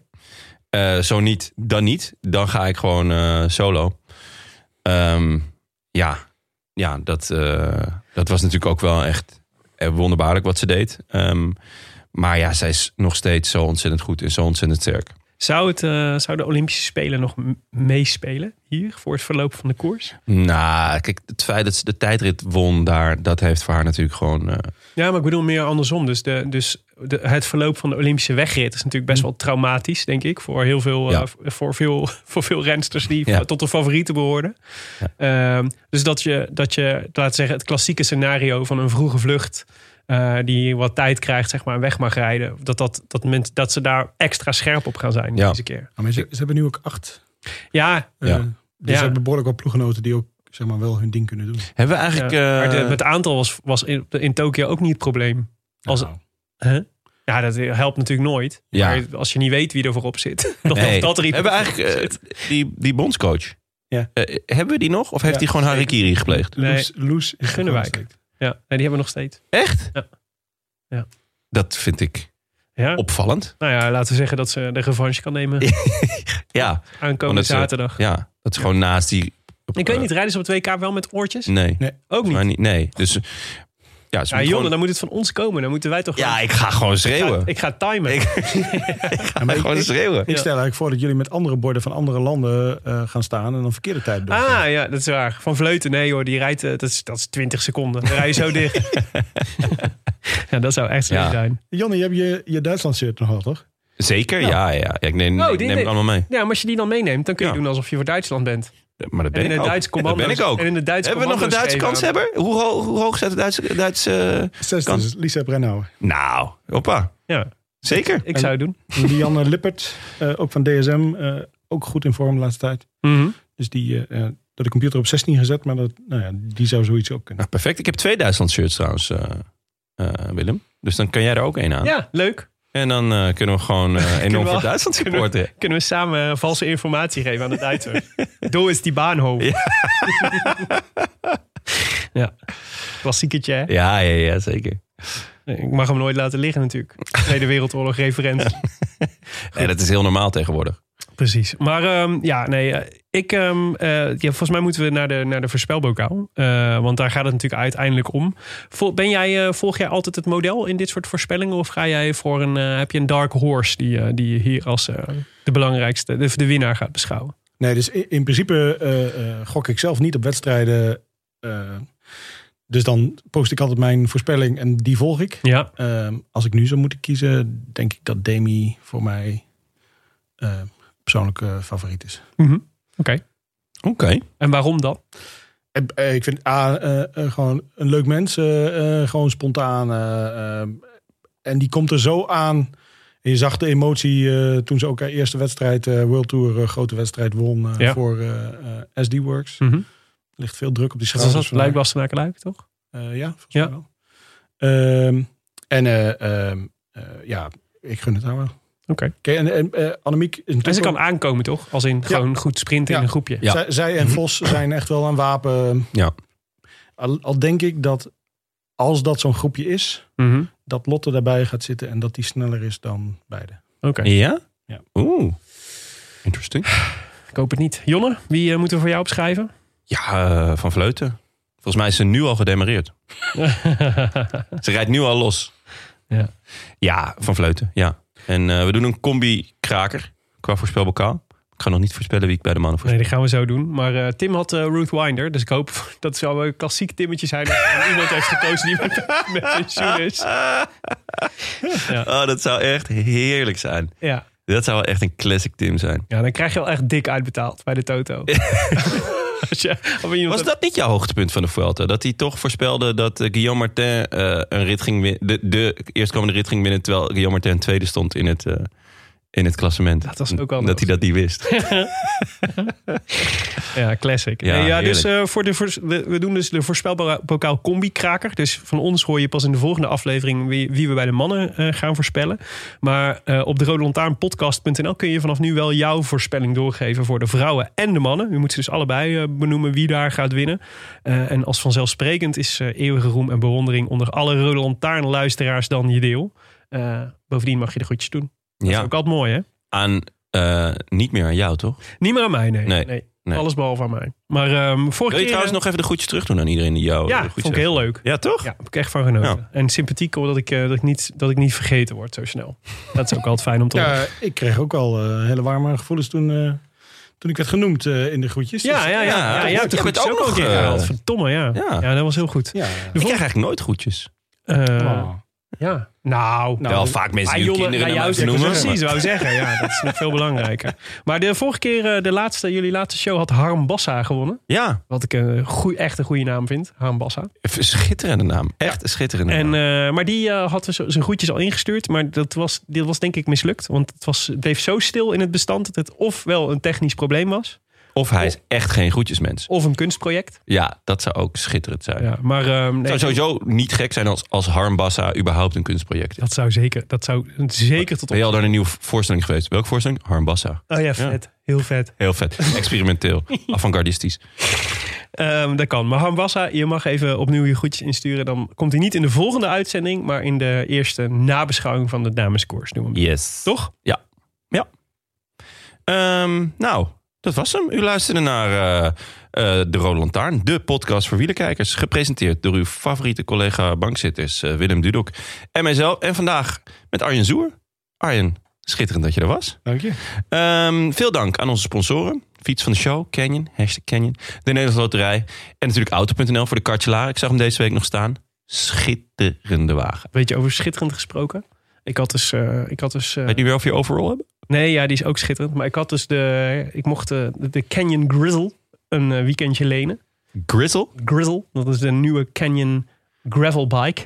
[SPEAKER 1] Eh, zo niet, dan niet. Dan ga ik gewoon eh, solo. Ehm, ja, ja dat, eh, dat was natuurlijk ook wel echt eh, wonderbaarlijk wat ze deed. Ehm, maar ja, zij is nog steeds zo ontzettend goed en zo ontzettend sterk.
[SPEAKER 2] Zou, het, eh, zou de Olympische Spelen nog m- meespelen hier voor het verloop van de koers?
[SPEAKER 1] Nou, kijk, het feit dat ze de tijdrit won daar, dat heeft voor haar natuurlijk gewoon. eh,
[SPEAKER 2] Ja, maar ik bedoel meer andersom. Dus, de, dus de, het verloop van de Olympische wegrit is natuurlijk best wel traumatisch, denk ik. Voor heel veel,
[SPEAKER 1] Mhm. Ja.
[SPEAKER 2] eh, v- voor veel, voor veel rensters die
[SPEAKER 1] Ja.
[SPEAKER 2] tot de favorieten behoorden. Ehm, dus dat je, dat je, laten we zeggen, het klassieke scenario van een vroege vlucht. eh, die wat tijd krijgt, zeg maar, en weg mag rijden. Dat, dat, dat, men, dat ze daar extra scherp op gaan zijn
[SPEAKER 1] Ja.
[SPEAKER 2] deze keer.
[SPEAKER 3] Ah, Maar ze, ze hebben nu ook acht.
[SPEAKER 2] Ja,
[SPEAKER 3] eh,
[SPEAKER 1] Ja.
[SPEAKER 3] Dus
[SPEAKER 2] Ja.
[SPEAKER 3] ze hebben behoorlijk wat ploeggenoten die ook zeg maar, wel hun ding kunnen doen.
[SPEAKER 1] hebben we
[SPEAKER 2] ja.
[SPEAKER 1] eigenlijk.
[SPEAKER 2] maar de-
[SPEAKER 1] eh,
[SPEAKER 2] het aantal was, was in, in Tokio ook niet het probleem. Als-
[SPEAKER 3] Nou,
[SPEAKER 2] Hè? Ja, dat helpt natuurlijk nooit.
[SPEAKER 1] Ja.
[SPEAKER 2] Maar als je niet weet wie er voorop zit, dan
[SPEAKER 1] nee.
[SPEAKER 2] helpt dat er iemand
[SPEAKER 1] Hebben we eigenlijk
[SPEAKER 2] voorop
[SPEAKER 1] eh,
[SPEAKER 2] zit.
[SPEAKER 1] die, die bondscoach?
[SPEAKER 3] Ja.
[SPEAKER 1] Eh, hebben we die nog? Of heeft
[SPEAKER 3] Ja.
[SPEAKER 1] hij gewoon Harikiri gepleegd?
[SPEAKER 2] Nee.
[SPEAKER 3] Loes, Loes is
[SPEAKER 2] Gunnewijk.
[SPEAKER 3] gewoon steekt.
[SPEAKER 2] Ja, nee, die hebben we nog steeds.
[SPEAKER 1] Echt?
[SPEAKER 2] Ja. Ja.
[SPEAKER 1] Dat vind ik
[SPEAKER 2] Ja?
[SPEAKER 1] opvallend.
[SPEAKER 2] Nou ja, laten we zeggen dat ze de revanche kan nemen
[SPEAKER 1] Ja,
[SPEAKER 2] aankomende
[SPEAKER 1] ze-
[SPEAKER 2] zaterdag.
[SPEAKER 1] ja. dat is gewoon naast die op- eh,
[SPEAKER 2] Ik weet niet, rijden ze op 2K wel met oortjes?
[SPEAKER 1] Nee.
[SPEAKER 3] Nee.
[SPEAKER 2] Ook niet.
[SPEAKER 1] Maar niet. Nee. Dus eh, ja, ze
[SPEAKER 2] Ja,
[SPEAKER 1] moet
[SPEAKER 2] jongen,
[SPEAKER 1] gewoon-
[SPEAKER 2] dan moet het van ons komen. Dan moeten wij toch...
[SPEAKER 1] ja, ik ga gewoon schreeuwen.
[SPEAKER 2] ik, ik ga timen.
[SPEAKER 1] Ik-
[SPEAKER 3] Ja, maar ik-
[SPEAKER 1] gewoon
[SPEAKER 3] ik-
[SPEAKER 1] schreeuwen.
[SPEAKER 3] Ik stel eigenlijk voor dat jullie met andere borden van andere landen eh, gaan staan en dan verkeerde tijd doen.
[SPEAKER 2] Ah ja, dat is waar. Van Vleuten, nee hoor, die rijdt, eh, dat, is, dat is 20 seconden. Dan rij je zo dicht. ja, dat zou echt slecht
[SPEAKER 1] Ja.
[SPEAKER 2] zijn.
[SPEAKER 3] Jonne, je hebt je, je Duitsland shirt nog wel, toch?
[SPEAKER 1] Zeker? Ja, ja. ja. ik neem,
[SPEAKER 2] Oh,
[SPEAKER 1] ik neem
[SPEAKER 2] die ne-
[SPEAKER 1] het allemaal mee.
[SPEAKER 2] Ja, maar als je die dan meeneemt, dan kun je
[SPEAKER 1] Ja.
[SPEAKER 2] doen alsof je voor Duitsland bent.
[SPEAKER 1] Maar dat ben ik
[SPEAKER 2] en in het
[SPEAKER 1] ook.
[SPEAKER 2] Duits
[SPEAKER 1] Ja, dat
[SPEAKER 2] commando's.
[SPEAKER 1] ben ik ook.
[SPEAKER 2] En in het Duits
[SPEAKER 1] Hebben we nog een
[SPEAKER 2] commando's
[SPEAKER 1] Duitse
[SPEAKER 2] geven.
[SPEAKER 1] kanshebber? Hoe, ho- hoe hoog staat de Duitse... Duitse
[SPEAKER 3] Zes,
[SPEAKER 1] Kan.
[SPEAKER 3] dus Lisa Brennauer.
[SPEAKER 1] Nou, hoppa.
[SPEAKER 2] Ja,
[SPEAKER 1] Zeker.
[SPEAKER 2] ik zou het doen.
[SPEAKER 3] Lianne Lippert, eh, ook van DSM, eh, ook goed in vorm de laatste tijd.
[SPEAKER 2] Mhm.
[SPEAKER 3] Dus die, eh, eh, door de computer op 16 gezet, maar dat, nou ja, die zou zoiets ook kunnen.
[SPEAKER 1] Nou, perfect. Ik heb twee Duitsland shirts trouwens, eh, eh, Willem. Dus dan kan jij er ook één aan.
[SPEAKER 2] Ja, leuk.
[SPEAKER 1] En dan eh, kunnen we gewoon eh, enorm
[SPEAKER 2] we-
[SPEAKER 1] voor Duitsland
[SPEAKER 2] kunnen we-
[SPEAKER 1] supporten.
[SPEAKER 2] Kunnen we samen eh, valse informatie geven aan de Duitser. Doe is die baanhoofd. Ja. ja. Klassieketje, hè?
[SPEAKER 1] Ja, ja, ja, zeker.
[SPEAKER 2] Ik mag hem nooit laten liggen natuurlijk. Tweede Wereldoorlog referentie.
[SPEAKER 1] Ja, dat is heel normaal tegenwoordig.
[SPEAKER 2] Precies. Maar ehm, ja, nee, eh, ik, ehm, eh, ja, volgens mij moeten we naar de, naar de voorspelbokaal. Eh, want daar gaat het natuurlijk uiteindelijk om. Vol- ben jij, eh, volg jij altijd het model in dit soort voorspellingen? Of ga jij voor een, eh, heb je een dark horse die, eh, die je hier als eh, de belangrijkste, de, de winnaar gaat beschouwen?
[SPEAKER 3] Nee, dus in, in principe eh, eh, gok ik zelf niet op wedstrijden. eh, dus dan post ik altijd mijn voorspelling en die volg ik.
[SPEAKER 2] Ja,
[SPEAKER 3] Ehm, als ik nu zou moeten kiezen, denk ik dat Demi voor mij eh, persoonlijke favoriet is.
[SPEAKER 1] Oké.
[SPEAKER 2] Mhm. en waarom dan?
[SPEAKER 3] Eh, eh, Ik vind A, eh, eh, gewoon een leuk mens. eh, eh, gewoon spontaan. eh, eh, en die komt er zo aan. En je zag de emotie eh, toen ze ook haar eerste wedstrijd, eh, World Tour, eh, grote wedstrijd won eh,
[SPEAKER 2] Ja.
[SPEAKER 3] voor eh, eh, SD Works.
[SPEAKER 2] Mhm.
[SPEAKER 3] Er ligt veel druk op die
[SPEAKER 2] Dat was
[SPEAKER 3] schouders.
[SPEAKER 2] dat
[SPEAKER 3] van haar.
[SPEAKER 2] Luik Bastenaken Luik, toch?
[SPEAKER 3] Eh, ja, volgens
[SPEAKER 2] Ja.
[SPEAKER 3] mij wel. Ehm, en eh, ehm, eh, ja, ik gun het haar wel.
[SPEAKER 2] Oké.
[SPEAKER 3] Oké, en, en eh, Annemiek... Is
[SPEAKER 2] En ze
[SPEAKER 3] natuurlijk
[SPEAKER 2] Dus kan aankomen, toch? Als in gewoon goed sprinten in
[SPEAKER 3] Ja.
[SPEAKER 2] een groepje.
[SPEAKER 1] Ja. Mhm.
[SPEAKER 3] Zij, zij en Vos zijn echt wel een wapen.
[SPEAKER 1] Ja.
[SPEAKER 3] Al, al denk ik dat als dat zo'n groepje is,
[SPEAKER 2] Mhm.
[SPEAKER 3] dat Lotte daarbij gaat zitten en dat die sneller is dan beide.
[SPEAKER 2] Oké,
[SPEAKER 1] Ja?
[SPEAKER 3] Ja.
[SPEAKER 1] Oeh. Interesting.
[SPEAKER 2] ik hoop het niet. Jonne, wie eh, moeten we voor jou opschrijven?
[SPEAKER 1] Ja, eh, van Vleuten. Volgens mij is ze nu al gedemareerd. Ze rijdt nu al los.
[SPEAKER 2] Ja.
[SPEAKER 1] Ja, van Vleuten, ja. En eh, we doen een combi-kraker qua voorspelbokaal. Ik ga nog niet voorspellen wie ik bij de mannen voorspel.
[SPEAKER 2] Nee, die gaan we zo doen. Maar eh, Tim had eh, Ruth Winder. Dus ik hoop dat het zou een klassiek Timmetje zijn. Dat er iemand heeft gekozen die met, met pensioen is.
[SPEAKER 1] Oh, dat zou echt heerlijk zijn.
[SPEAKER 2] Ja.
[SPEAKER 1] Dat zou wel echt een classic Tim zijn.
[SPEAKER 2] ja, dan krijg je wel echt dik uitbetaald bij de Toto. Als je- of iemand
[SPEAKER 1] Was
[SPEAKER 2] dat-
[SPEAKER 1] dat niet jouw hoogtepunt van de Vuelta? Dat hij toch voorspelde dat eh, Guillaume Martin eh, een rit ging win- de, de eerstkomende rit ging winnen... terwijl Guillaume Martin tweede stond in het, eh, in het klassement.
[SPEAKER 2] Dat was ook wel
[SPEAKER 1] Dat hij dat niet wist.
[SPEAKER 2] Ja, classic.
[SPEAKER 1] Ja,
[SPEAKER 2] Nee, ja
[SPEAKER 1] heerlijk.
[SPEAKER 2] dus eh, voor de voors- we, we doen dus de voorspelbokaal combi-kraker. Dus van ons hoor je pas in de volgende aflevering wie, wie we bij de mannen eh, gaan voorspellen. Maar eh, op de Rode Lantaarn podcast.nl kun je vanaf nu wel jouw voorspelling doorgeven voor de vrouwen en de mannen. U moet ze dus allebei eh, benoemen wie daar gaat winnen. Eh, en als vanzelfsprekend is eh, eeuwige roem en bewondering onder alle Rode Lantaarn luisteraars dan je deel. Eh, bovendien mag je de groetjes doen. Dat is
[SPEAKER 1] Ja,
[SPEAKER 2] ook altijd mooi, hè?
[SPEAKER 1] aan, eh, niet meer aan jou, toch?
[SPEAKER 2] Niet meer aan mij, nee.
[SPEAKER 1] Nee, nee.
[SPEAKER 2] Alles behalve aan mij. Maar ehm, vorige
[SPEAKER 1] Wil je
[SPEAKER 2] keer,
[SPEAKER 1] trouwens nog even de groetjes terug doen aan iedereen die jou...
[SPEAKER 2] Ja,
[SPEAKER 1] de groetjes
[SPEAKER 2] vond ik
[SPEAKER 1] heeft?
[SPEAKER 2] heel leuk.
[SPEAKER 1] Ja, toch?
[SPEAKER 2] Ja, heb ik echt van genoten.
[SPEAKER 1] Ja.
[SPEAKER 2] En sympathiek hoor dat ik, eh, dat, ik niet, dat ik niet vergeten word zo snel. Dat is ook altijd fijn om te horen.
[SPEAKER 3] Ja, ik kreeg ook al eh, hele warme gevoelens toen, eh, toen ik werd genoemd eh, in de groetjes. Dus-
[SPEAKER 2] Ja, ja, ja.
[SPEAKER 1] Ja,
[SPEAKER 2] ja,
[SPEAKER 1] dat
[SPEAKER 2] jij hebt
[SPEAKER 1] wordt-
[SPEAKER 2] de
[SPEAKER 1] jij bent
[SPEAKER 2] groetjes
[SPEAKER 1] ook
[SPEAKER 2] ook nog een
[SPEAKER 1] nog,
[SPEAKER 2] keer
[SPEAKER 1] eh,
[SPEAKER 2] gehaald. Verdomme, ja.
[SPEAKER 1] Ja.
[SPEAKER 2] ja. dat was heel goed.
[SPEAKER 3] ja.
[SPEAKER 1] Ik krijg eigenlijk nooit groetjes.
[SPEAKER 2] Eh,
[SPEAKER 3] Oh.
[SPEAKER 2] Ja. Nou,
[SPEAKER 3] Nou,
[SPEAKER 1] Wel vaak mensen
[SPEAKER 2] Ah,
[SPEAKER 1] die hun
[SPEAKER 2] jongen,
[SPEAKER 1] kinderen dan
[SPEAKER 2] nou, jou
[SPEAKER 1] even
[SPEAKER 2] zeggen,
[SPEAKER 1] noemen.
[SPEAKER 2] Precies, wou zeggen. Ja, dat is nog veel belangrijker. Maar de vorige keer, eh, de laatste, jullie laatste show had Harm Bassa gewonnen.
[SPEAKER 1] Maar- Ja,
[SPEAKER 2] Wat ik een goeie, echt een goede naam vind, Harm Bassa.
[SPEAKER 1] een schitterende naam. Echt een schitterende
[SPEAKER 2] En,
[SPEAKER 1] naam.
[SPEAKER 2] eh, maar die eh, had z- zijn groetjes al ingestuurd. Maar dat was, dit was denk ik mislukt. Want het, was, het bleef zo stil in het bestand dat het ofwel een technisch probleem was.
[SPEAKER 1] Of hij is echt geen groetjesmens.
[SPEAKER 2] Of een kunstproject.
[SPEAKER 1] Ja, dat zou ook schitterend zijn.
[SPEAKER 2] Ja, maar ehm, nee,
[SPEAKER 1] Het zou sowieso niet gek zijn als, als Harm Bassa überhaupt een kunstproject is.
[SPEAKER 2] dat zou zeker, dat zou zeker tot op...
[SPEAKER 1] Ben je al naar een nieuwe voorstelling geweest? Welke voorstelling? Harm Bassa.
[SPEAKER 2] Oh ja, vet. Heel vet.
[SPEAKER 1] Heel vet. Experimenteel. Avantgardistisch.
[SPEAKER 2] Ehm, dat kan. Maar Hambassa, je mag even opnieuw je groetjes insturen. Dan komt hij niet in de volgende uitzending, maar in de eerste nabeschouwing van de dameskoers. Noemen we hem.
[SPEAKER 1] Yes.
[SPEAKER 2] Toch?
[SPEAKER 1] Ehm, nou, Dat was hem. U luisterde naar eh, eh, De Rode Lantaarn, de podcast voor wielerkijkers. Gepresenteerd door uw favoriete collega bankzitters eh, Willem Dudok en mijzelf. En vandaag met Arjen Zoer. Arjen, schitterend dat je er was.
[SPEAKER 3] Dank je.
[SPEAKER 1] Ehm, veel dank aan onze sponsoren. Fiets van de show, Canyon, hashtag Canyon. De Nederlandse Loterij. En natuurlijk Auto.nl voor de kartjelaar. Ik zag hem deze week nog staan. Schitterende wagen.
[SPEAKER 2] Weet je, over schitterend gesproken. Ik had dus... eh, ik had dus eh,
[SPEAKER 1] Weet je weer of je overall hebt?
[SPEAKER 2] nee, ja, die is ook schitterend. Maar ik had dus de... Ik mocht eh, de, de Canyon Grizzle een eh, weekendje lenen.
[SPEAKER 1] Grizzle.
[SPEAKER 2] Grizzle, dat is de nieuwe Canyon gravel bike.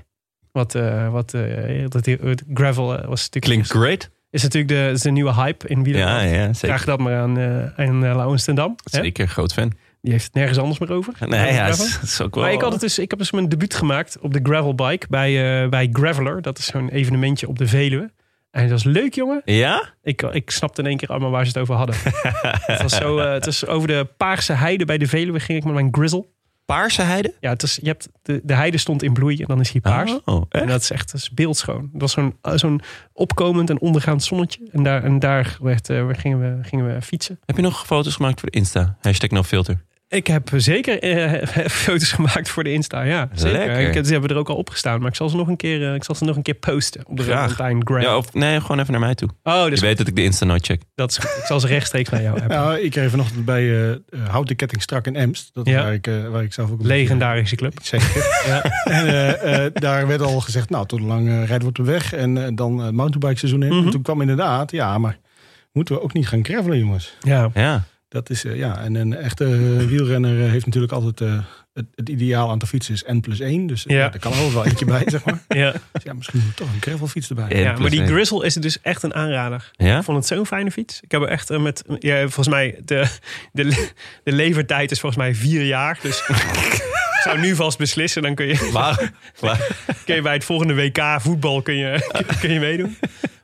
[SPEAKER 2] Wat, eh, wat eh, dat, die- het gravel eh, was natuurlijk...
[SPEAKER 1] Klinkt
[SPEAKER 2] is,
[SPEAKER 1] great.
[SPEAKER 2] natuurlijk de, is de nieuwe hype in
[SPEAKER 1] Ja,
[SPEAKER 2] wielerland.
[SPEAKER 1] ja, zeker.
[SPEAKER 2] Vraag dat maar aan, eh aan eh, Laurens ten Dam. hè?
[SPEAKER 1] Zeker, groot fan.
[SPEAKER 2] Die heeft het nergens anders meer over.
[SPEAKER 1] Nee,
[SPEAKER 2] Over
[SPEAKER 1] ja, dat
[SPEAKER 2] gravel.
[SPEAKER 1] is, dat is ook wel...
[SPEAKER 2] Maar ik, had het dus, ik heb dus mijn debuut gemaakt op de gravelbike bij, eh, bij Graveler. Dat is zo'n evenementje op de Veluwe. En dat was leuk, jongen.
[SPEAKER 1] Ja?
[SPEAKER 2] Ik, ik snapte in één keer allemaal waar ze het over hadden. het, was zo, eh, het was over de Paarse heide bij de Veluwe ging ik met mijn grizzle.
[SPEAKER 1] Paarse heide?
[SPEAKER 2] Ja, het is, je hebt, de, de heide stond in bloei en dan is die paars.
[SPEAKER 1] Oh, echt?
[SPEAKER 2] En dat is echt dat is beeldschoon. Het was zo'n eh, zo'n opkomend en ondergaand zonnetje. En daar, en daar werd, eh, gingen, we, gingen we fietsen.
[SPEAKER 1] Heb je nog foto's gemaakt voor de Insta? Hashtag nofilter.
[SPEAKER 2] Ik heb zeker eh, foto's gemaakt voor de Insta, ja. Zeker.
[SPEAKER 1] Lekker.
[SPEAKER 2] Ik, ze hebben er ook al opgestaan, maar ik zal ze nog een keer, eh, ik zal ze nog een keer posten op de
[SPEAKER 1] Graag.
[SPEAKER 2] Valentine Gram.
[SPEAKER 1] Ja, of nee, gewoon even naar mij toe.
[SPEAKER 2] oh,
[SPEAKER 1] Je
[SPEAKER 2] dus
[SPEAKER 1] weet dat ik de Insta nooit check.
[SPEAKER 2] dat is goed. Ik zal ze rechtstreeks naar jou hebben.
[SPEAKER 3] Nou, ik kreeg vanochtend bij eh, eh, Houd de Ketting Strak in Emst. Dat
[SPEAKER 2] Ja.
[SPEAKER 3] waar, ik, eh, waar ik zelf ook een
[SPEAKER 2] Legendarische club.
[SPEAKER 3] beetje- Zeker.
[SPEAKER 2] Ja.
[SPEAKER 3] en eh, eh, daar werd al gezegd, nou, tot lang eh, rijden we op de weg. En eh, dan het mountainbike seizoen in.
[SPEAKER 2] Mhm.
[SPEAKER 3] En toen kwam inderdaad, ja, maar moeten we ook niet gaan gravelen, jongens.
[SPEAKER 2] Ja.
[SPEAKER 1] Ja.
[SPEAKER 3] Dat is, eh, ja, en een echte eh, wielrenner eh, heeft natuurlijk altijd eh, het, het ideaal aan de fiets is N plus 1. Dus eh,
[SPEAKER 2] Ja.
[SPEAKER 3] ja. daar kan altijd wel eentje bij, zeg maar.
[SPEAKER 2] Ja.
[SPEAKER 3] Dus ja, misschien moet toch een gravelfiets erbij.
[SPEAKER 1] Ja.
[SPEAKER 2] ja, maar die
[SPEAKER 1] plus één.
[SPEAKER 2] Grizzle is dus echt een aanrader.
[SPEAKER 1] Ja?
[SPEAKER 2] Ik vond het zo'n fijne fiets. Ik heb er echt eh, met, ja, volgens mij, de, de, le- de levertijd is volgens mij vier jaar. Dus ik zou nu vast beslissen, dan kun je...
[SPEAKER 1] Waar? waar-
[SPEAKER 2] kun je bij het volgende WK voetbal kun je, kun je meedoen.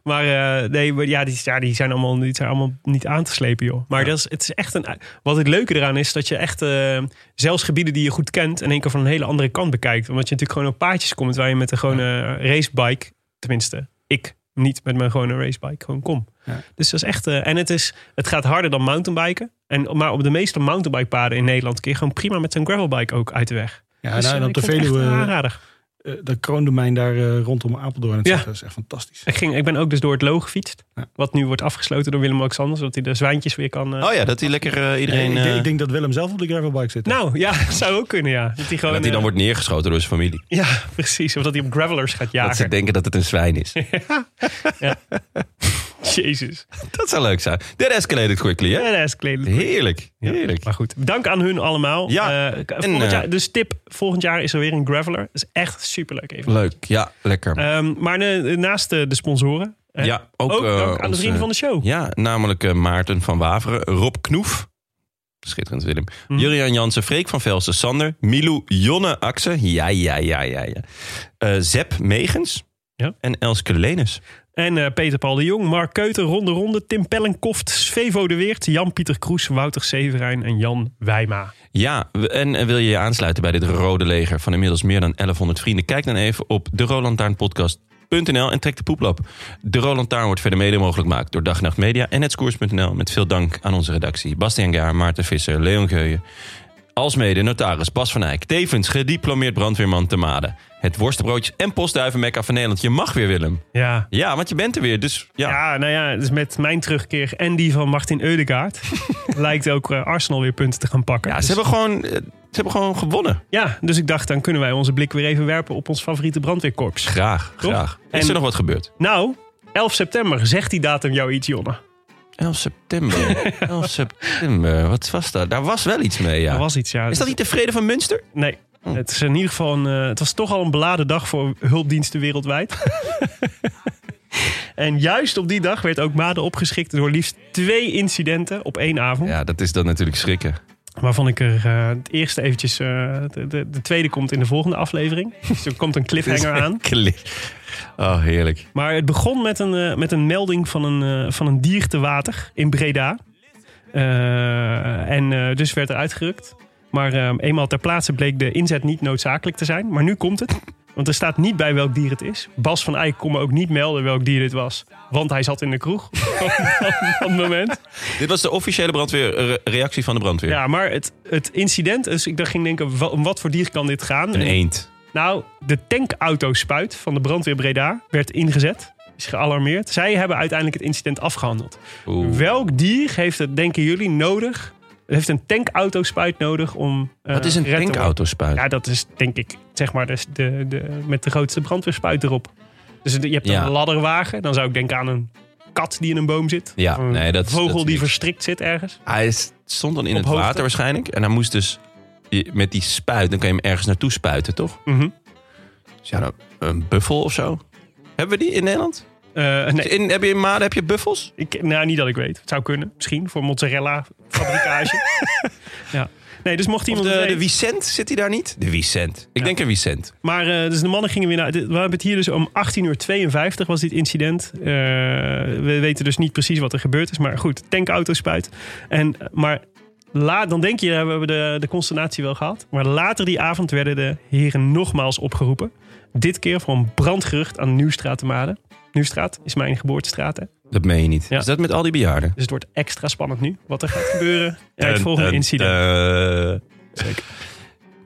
[SPEAKER 2] Maar eh, nee, maar ja, die, ja, die zijn allemaal, die zijn allemaal niet aan te slepen, joh. Maar dat is, het is echt een. Wat het leuke eraan is, dat je echt eh, zelfs gebieden die je goed kent, in één keer van een hele andere kant bekijkt. Omdat je natuurlijk gewoon op paadjes komt waar je met een gewone racebike, tenminste, ik niet met mijn gewone racebike gewoon kom.
[SPEAKER 3] Ja.
[SPEAKER 2] Dus dat is echt. eh, en het, is, het gaat harder dan mountainbiken. En, maar op de meeste mountainbikepaden in Nederland kun je gewoon prima met zo'n gravelbike ook uit de weg.
[SPEAKER 3] Ja,
[SPEAKER 2] Dus,
[SPEAKER 3] nou, en
[SPEAKER 2] eh,
[SPEAKER 3] op de
[SPEAKER 2] ik vond het echt
[SPEAKER 3] Veluwe,
[SPEAKER 2] een aanrader.
[SPEAKER 3] eh, dat kroondomein daar eh, rondom Apeldoorn.
[SPEAKER 2] Ja.
[SPEAKER 3] Ja. Dat is echt fantastisch.
[SPEAKER 2] Ik, ging, ik ben ook dus door het Loo gefietst.
[SPEAKER 3] Ja.
[SPEAKER 2] Wat nu wordt afgesloten door Willem-Alexander. Zodat hij de zwijntjes weer kan... eh,
[SPEAKER 1] Oh ja, dat hij lekker eh, iedereen...
[SPEAKER 3] ik, denk-
[SPEAKER 1] eh,
[SPEAKER 3] ik denk dat Willem zelf op de gravelbike zit.
[SPEAKER 2] Nou, ja, zou ook kunnen, ja. Dat hij gewoon...
[SPEAKER 1] dat hij dan
[SPEAKER 2] eh,
[SPEAKER 1] wordt neergeschoten door zijn familie.
[SPEAKER 2] Ja, precies. Of dat hij op gravelers gaat
[SPEAKER 1] Dat ze
[SPEAKER 2] jagen.
[SPEAKER 1] denken dat het een zwijn is.
[SPEAKER 2] Jezus.
[SPEAKER 1] Dat zou leuk zijn. That escalated quickly,
[SPEAKER 2] Ja,
[SPEAKER 1] hè?
[SPEAKER 2] dat is kledelijk.
[SPEAKER 1] Heerlijk,
[SPEAKER 2] Ja,
[SPEAKER 1] heerlijk.
[SPEAKER 2] Maar goed, dank aan hun allemaal.
[SPEAKER 1] Ja,
[SPEAKER 2] Eh,
[SPEAKER 1] en,
[SPEAKER 2] volgend
[SPEAKER 1] eh,
[SPEAKER 2] jaar, dus tip, volgend jaar is er weer een graveler. Dat is echt superleuk even.
[SPEAKER 1] Leuk, ja, lekker.
[SPEAKER 2] Ehm, maar eh, naast eh, de sponsoren... eh,
[SPEAKER 1] ja, ook,
[SPEAKER 2] ook,
[SPEAKER 1] eh,
[SPEAKER 2] dank aan de
[SPEAKER 1] onze-
[SPEAKER 2] vrienden van de show.
[SPEAKER 1] Ja, namelijk eh, Maarten van Waveren, Rob Knoef. Schitterend, Willem. Jurian Jansen, Freek van Velsen, Sander. Milou, Jonne Akse. Ja, ja, ja, ja. ja. Eh Zep Megens.
[SPEAKER 2] Ja.
[SPEAKER 1] En Elske Lenus.
[SPEAKER 2] En eh, Peter Paul de Jong, Mark Keuter, Ronde Ronde, Tim Pellenkoft, Svevo de Weert, Jan-Pieter Kroes, Wouter Severijn en Jan Wijma.
[SPEAKER 1] Ja, w- en eh, wil je je aansluiten bij dit rode leger van inmiddels meer dan 1100 vrienden? Kijk dan even op de Rolantaarnpodcast.nl en trek de poeplap. De Rolantaarn wordt verder mede mogelijk gemaakt door Dag en Nacht Media en Hetskoers.nl. Met veel dank aan onze redactie. Bastiaan Gaar, Maarten Visser, Leon Geuyen. Alsmede notaris Bas van Eyck. Tevens gediplomeerd brandweerman te Made. Het worstenbroodjes en postduivenmekka van Nederland. Je mag weer, Willem.
[SPEAKER 2] Ja.
[SPEAKER 1] Ja, want je bent er weer. Dus ja,
[SPEAKER 2] Ja. nou ja, dus met mijn terugkeer en die van Martin Eudegaard lijkt ook eh, Arsenal weer punten te gaan pakken.
[SPEAKER 1] ja
[SPEAKER 2] dus,
[SPEAKER 1] ze, hebben gewoon, eh, ze hebben gewoon gewonnen.
[SPEAKER 2] ja, dus ik dacht, dan kunnen wij onze blik weer even werpen op ons favoriete brandweerkorps.
[SPEAKER 1] Graag,
[SPEAKER 2] Toch?
[SPEAKER 1] graag. Is
[SPEAKER 2] En-
[SPEAKER 1] er nog wat gebeurd?
[SPEAKER 2] Nou, 11 september, zegt die datum jou iets, Jonne?
[SPEAKER 1] 11 september. 11 september. Wat was dat? Daar was wel iets mee,
[SPEAKER 2] Er
[SPEAKER 1] ja.
[SPEAKER 2] was iets, ja. Dus
[SPEAKER 1] Is dat niet Oh. de vrede van Münster?
[SPEAKER 2] Nee. Het, is in ieder geval een, eh, het was toch al een beladen dag voor hulpdiensten wereldwijd. en juist op die dag werd ook Made opgeschikt door liefst twee incidenten op één avond.
[SPEAKER 1] Ja, dat is dan natuurlijk schrikken.
[SPEAKER 2] Waarvan ik er eh, het eerste eventjes... eh, de, de, de tweede komt in de volgende aflevering. Dus er komt een cliffhanger aan.
[SPEAKER 1] Klik. Oh, heerlijk.
[SPEAKER 2] Maar het begon met een, eh, met een melding van een, eh, van een dier te water in Breda. Eh, en eh, dus werd er uitgerukt. Maar eh, eenmaal ter plaatse bleek de inzet niet noodzakelijk te zijn. Maar nu komt het. Want er staat niet bij welk dier het is. Bas van Eyck kon me ook niet melden welk dier dit was. Want hij zat in de kroeg op dat moment.
[SPEAKER 1] Dit was de officiële brandweerreactie van de brandweer.
[SPEAKER 2] Ja, maar het, het incident... Dus ik dacht, ging denken, wa- om wat voor dier kan dit gaan?
[SPEAKER 1] Een
[SPEAKER 2] En-
[SPEAKER 1] eend.
[SPEAKER 2] Nou, de tankauto-spuit van de brandweer Breda werd ingezet. Is gealarmeerd. Zij hebben uiteindelijk het incident afgehandeld.
[SPEAKER 1] Oeh.
[SPEAKER 2] Welk dier heeft het, denken jullie, nodig? Heeft een tankauto-spuit nodig om. eh,
[SPEAKER 1] Wat is een
[SPEAKER 2] gered te worden?
[SPEAKER 1] tankauto-spuit?
[SPEAKER 2] Ja, dat is denk ik, zeg maar, de, de, de- met de grootste brandweerspuit erop. Dus je hebt dan
[SPEAKER 1] Ja.
[SPEAKER 2] een ladderwagen. Dan zou ik denken aan een kat die in een boom zit.
[SPEAKER 1] Ja,
[SPEAKER 2] Of een
[SPEAKER 1] nee, dat is-
[SPEAKER 2] vogel
[SPEAKER 1] dat is
[SPEAKER 2] die
[SPEAKER 1] niks.
[SPEAKER 2] verstrikt zit ergens.
[SPEAKER 1] Hij is- stond dan in
[SPEAKER 2] Op
[SPEAKER 1] het
[SPEAKER 2] hoogte.
[SPEAKER 1] water waarschijnlijk. En hij moest dus je- met die spuit, dan kan je hem ergens naartoe spuiten, toch?
[SPEAKER 2] Mhm.
[SPEAKER 1] Dus ja, dan een buffel of zo. Hebben we die in Nederland? Dus
[SPEAKER 2] Eh, nee,
[SPEAKER 1] In, heb je in Maden heb je buffels?
[SPEAKER 2] Ik, nou, niet dat ik weet. Het zou kunnen. Misschien voor mozzarella fabrikage. ja. Nee, dus mocht
[SPEAKER 1] Of
[SPEAKER 2] iemand... het
[SPEAKER 1] de, de
[SPEAKER 2] weten.
[SPEAKER 1] Vicent zit hij daar niet? De Vicent. Ik
[SPEAKER 2] Ja.
[SPEAKER 1] denk een Vicent.
[SPEAKER 2] maar eh, dus de mannen gingen weer naar... dit- We hebben het hier dus om 18.52 uur was dit incident. Eh, we weten dus niet precies wat er gebeurd is. Maar goed, tankauto spuit. En, eh, maar la, dan denk je, ja, we hebben de, de consternatie wel gehad. Maar later die avond werden de heren nogmaals opgeroepen. Dit keer voor een brandgerucht aan de Nieuwstraat te Maden. Nieuwstraat is mijn geboortestraat, hè?
[SPEAKER 1] Dat meen je niet.
[SPEAKER 2] Ja.
[SPEAKER 1] Is dat met al die bejaarden?
[SPEAKER 2] Dus het wordt extra spannend nu wat er gaat gebeuren bij het
[SPEAKER 1] Dun,
[SPEAKER 2] volgende
[SPEAKER 1] dun,
[SPEAKER 2] incident.
[SPEAKER 1] dun.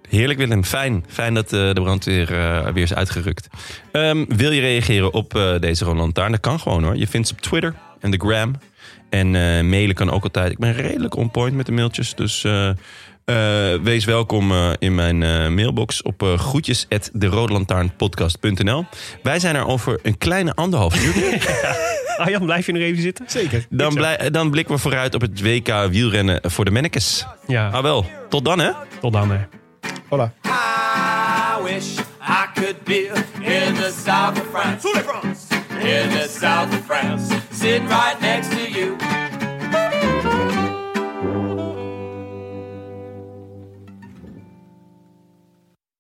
[SPEAKER 1] Heerlijk Willem, fijn. Fijn dat eh, de brandweer eh, weer is uitgerukt. Ehm, wil je reageren op eh, deze Roland Lantaarn? Dat kan gewoon hoor. Je vindt ze op Twitter en de gram. En eh, mailen kan ook altijd. Ik ben redelijk on point met de mailtjes. Dus eh, eh, wees welkom eh, in mijn eh, mailbox op eh groetjes Wij zijn er over een kleine anderhalf uur.
[SPEAKER 2] Arjan, blijf je nog even zitten?
[SPEAKER 3] Zeker.
[SPEAKER 1] eh, Dan, blij- dan blikken we vooruit op het WK wielrennen voor de mannekes. Ah
[SPEAKER 2] Ja,
[SPEAKER 1] wel, tot dan hè.
[SPEAKER 2] tot dan. Hè.
[SPEAKER 3] Hola.
[SPEAKER 4] I wish I could be in the south of France. In the south of France. Sitting right next to you.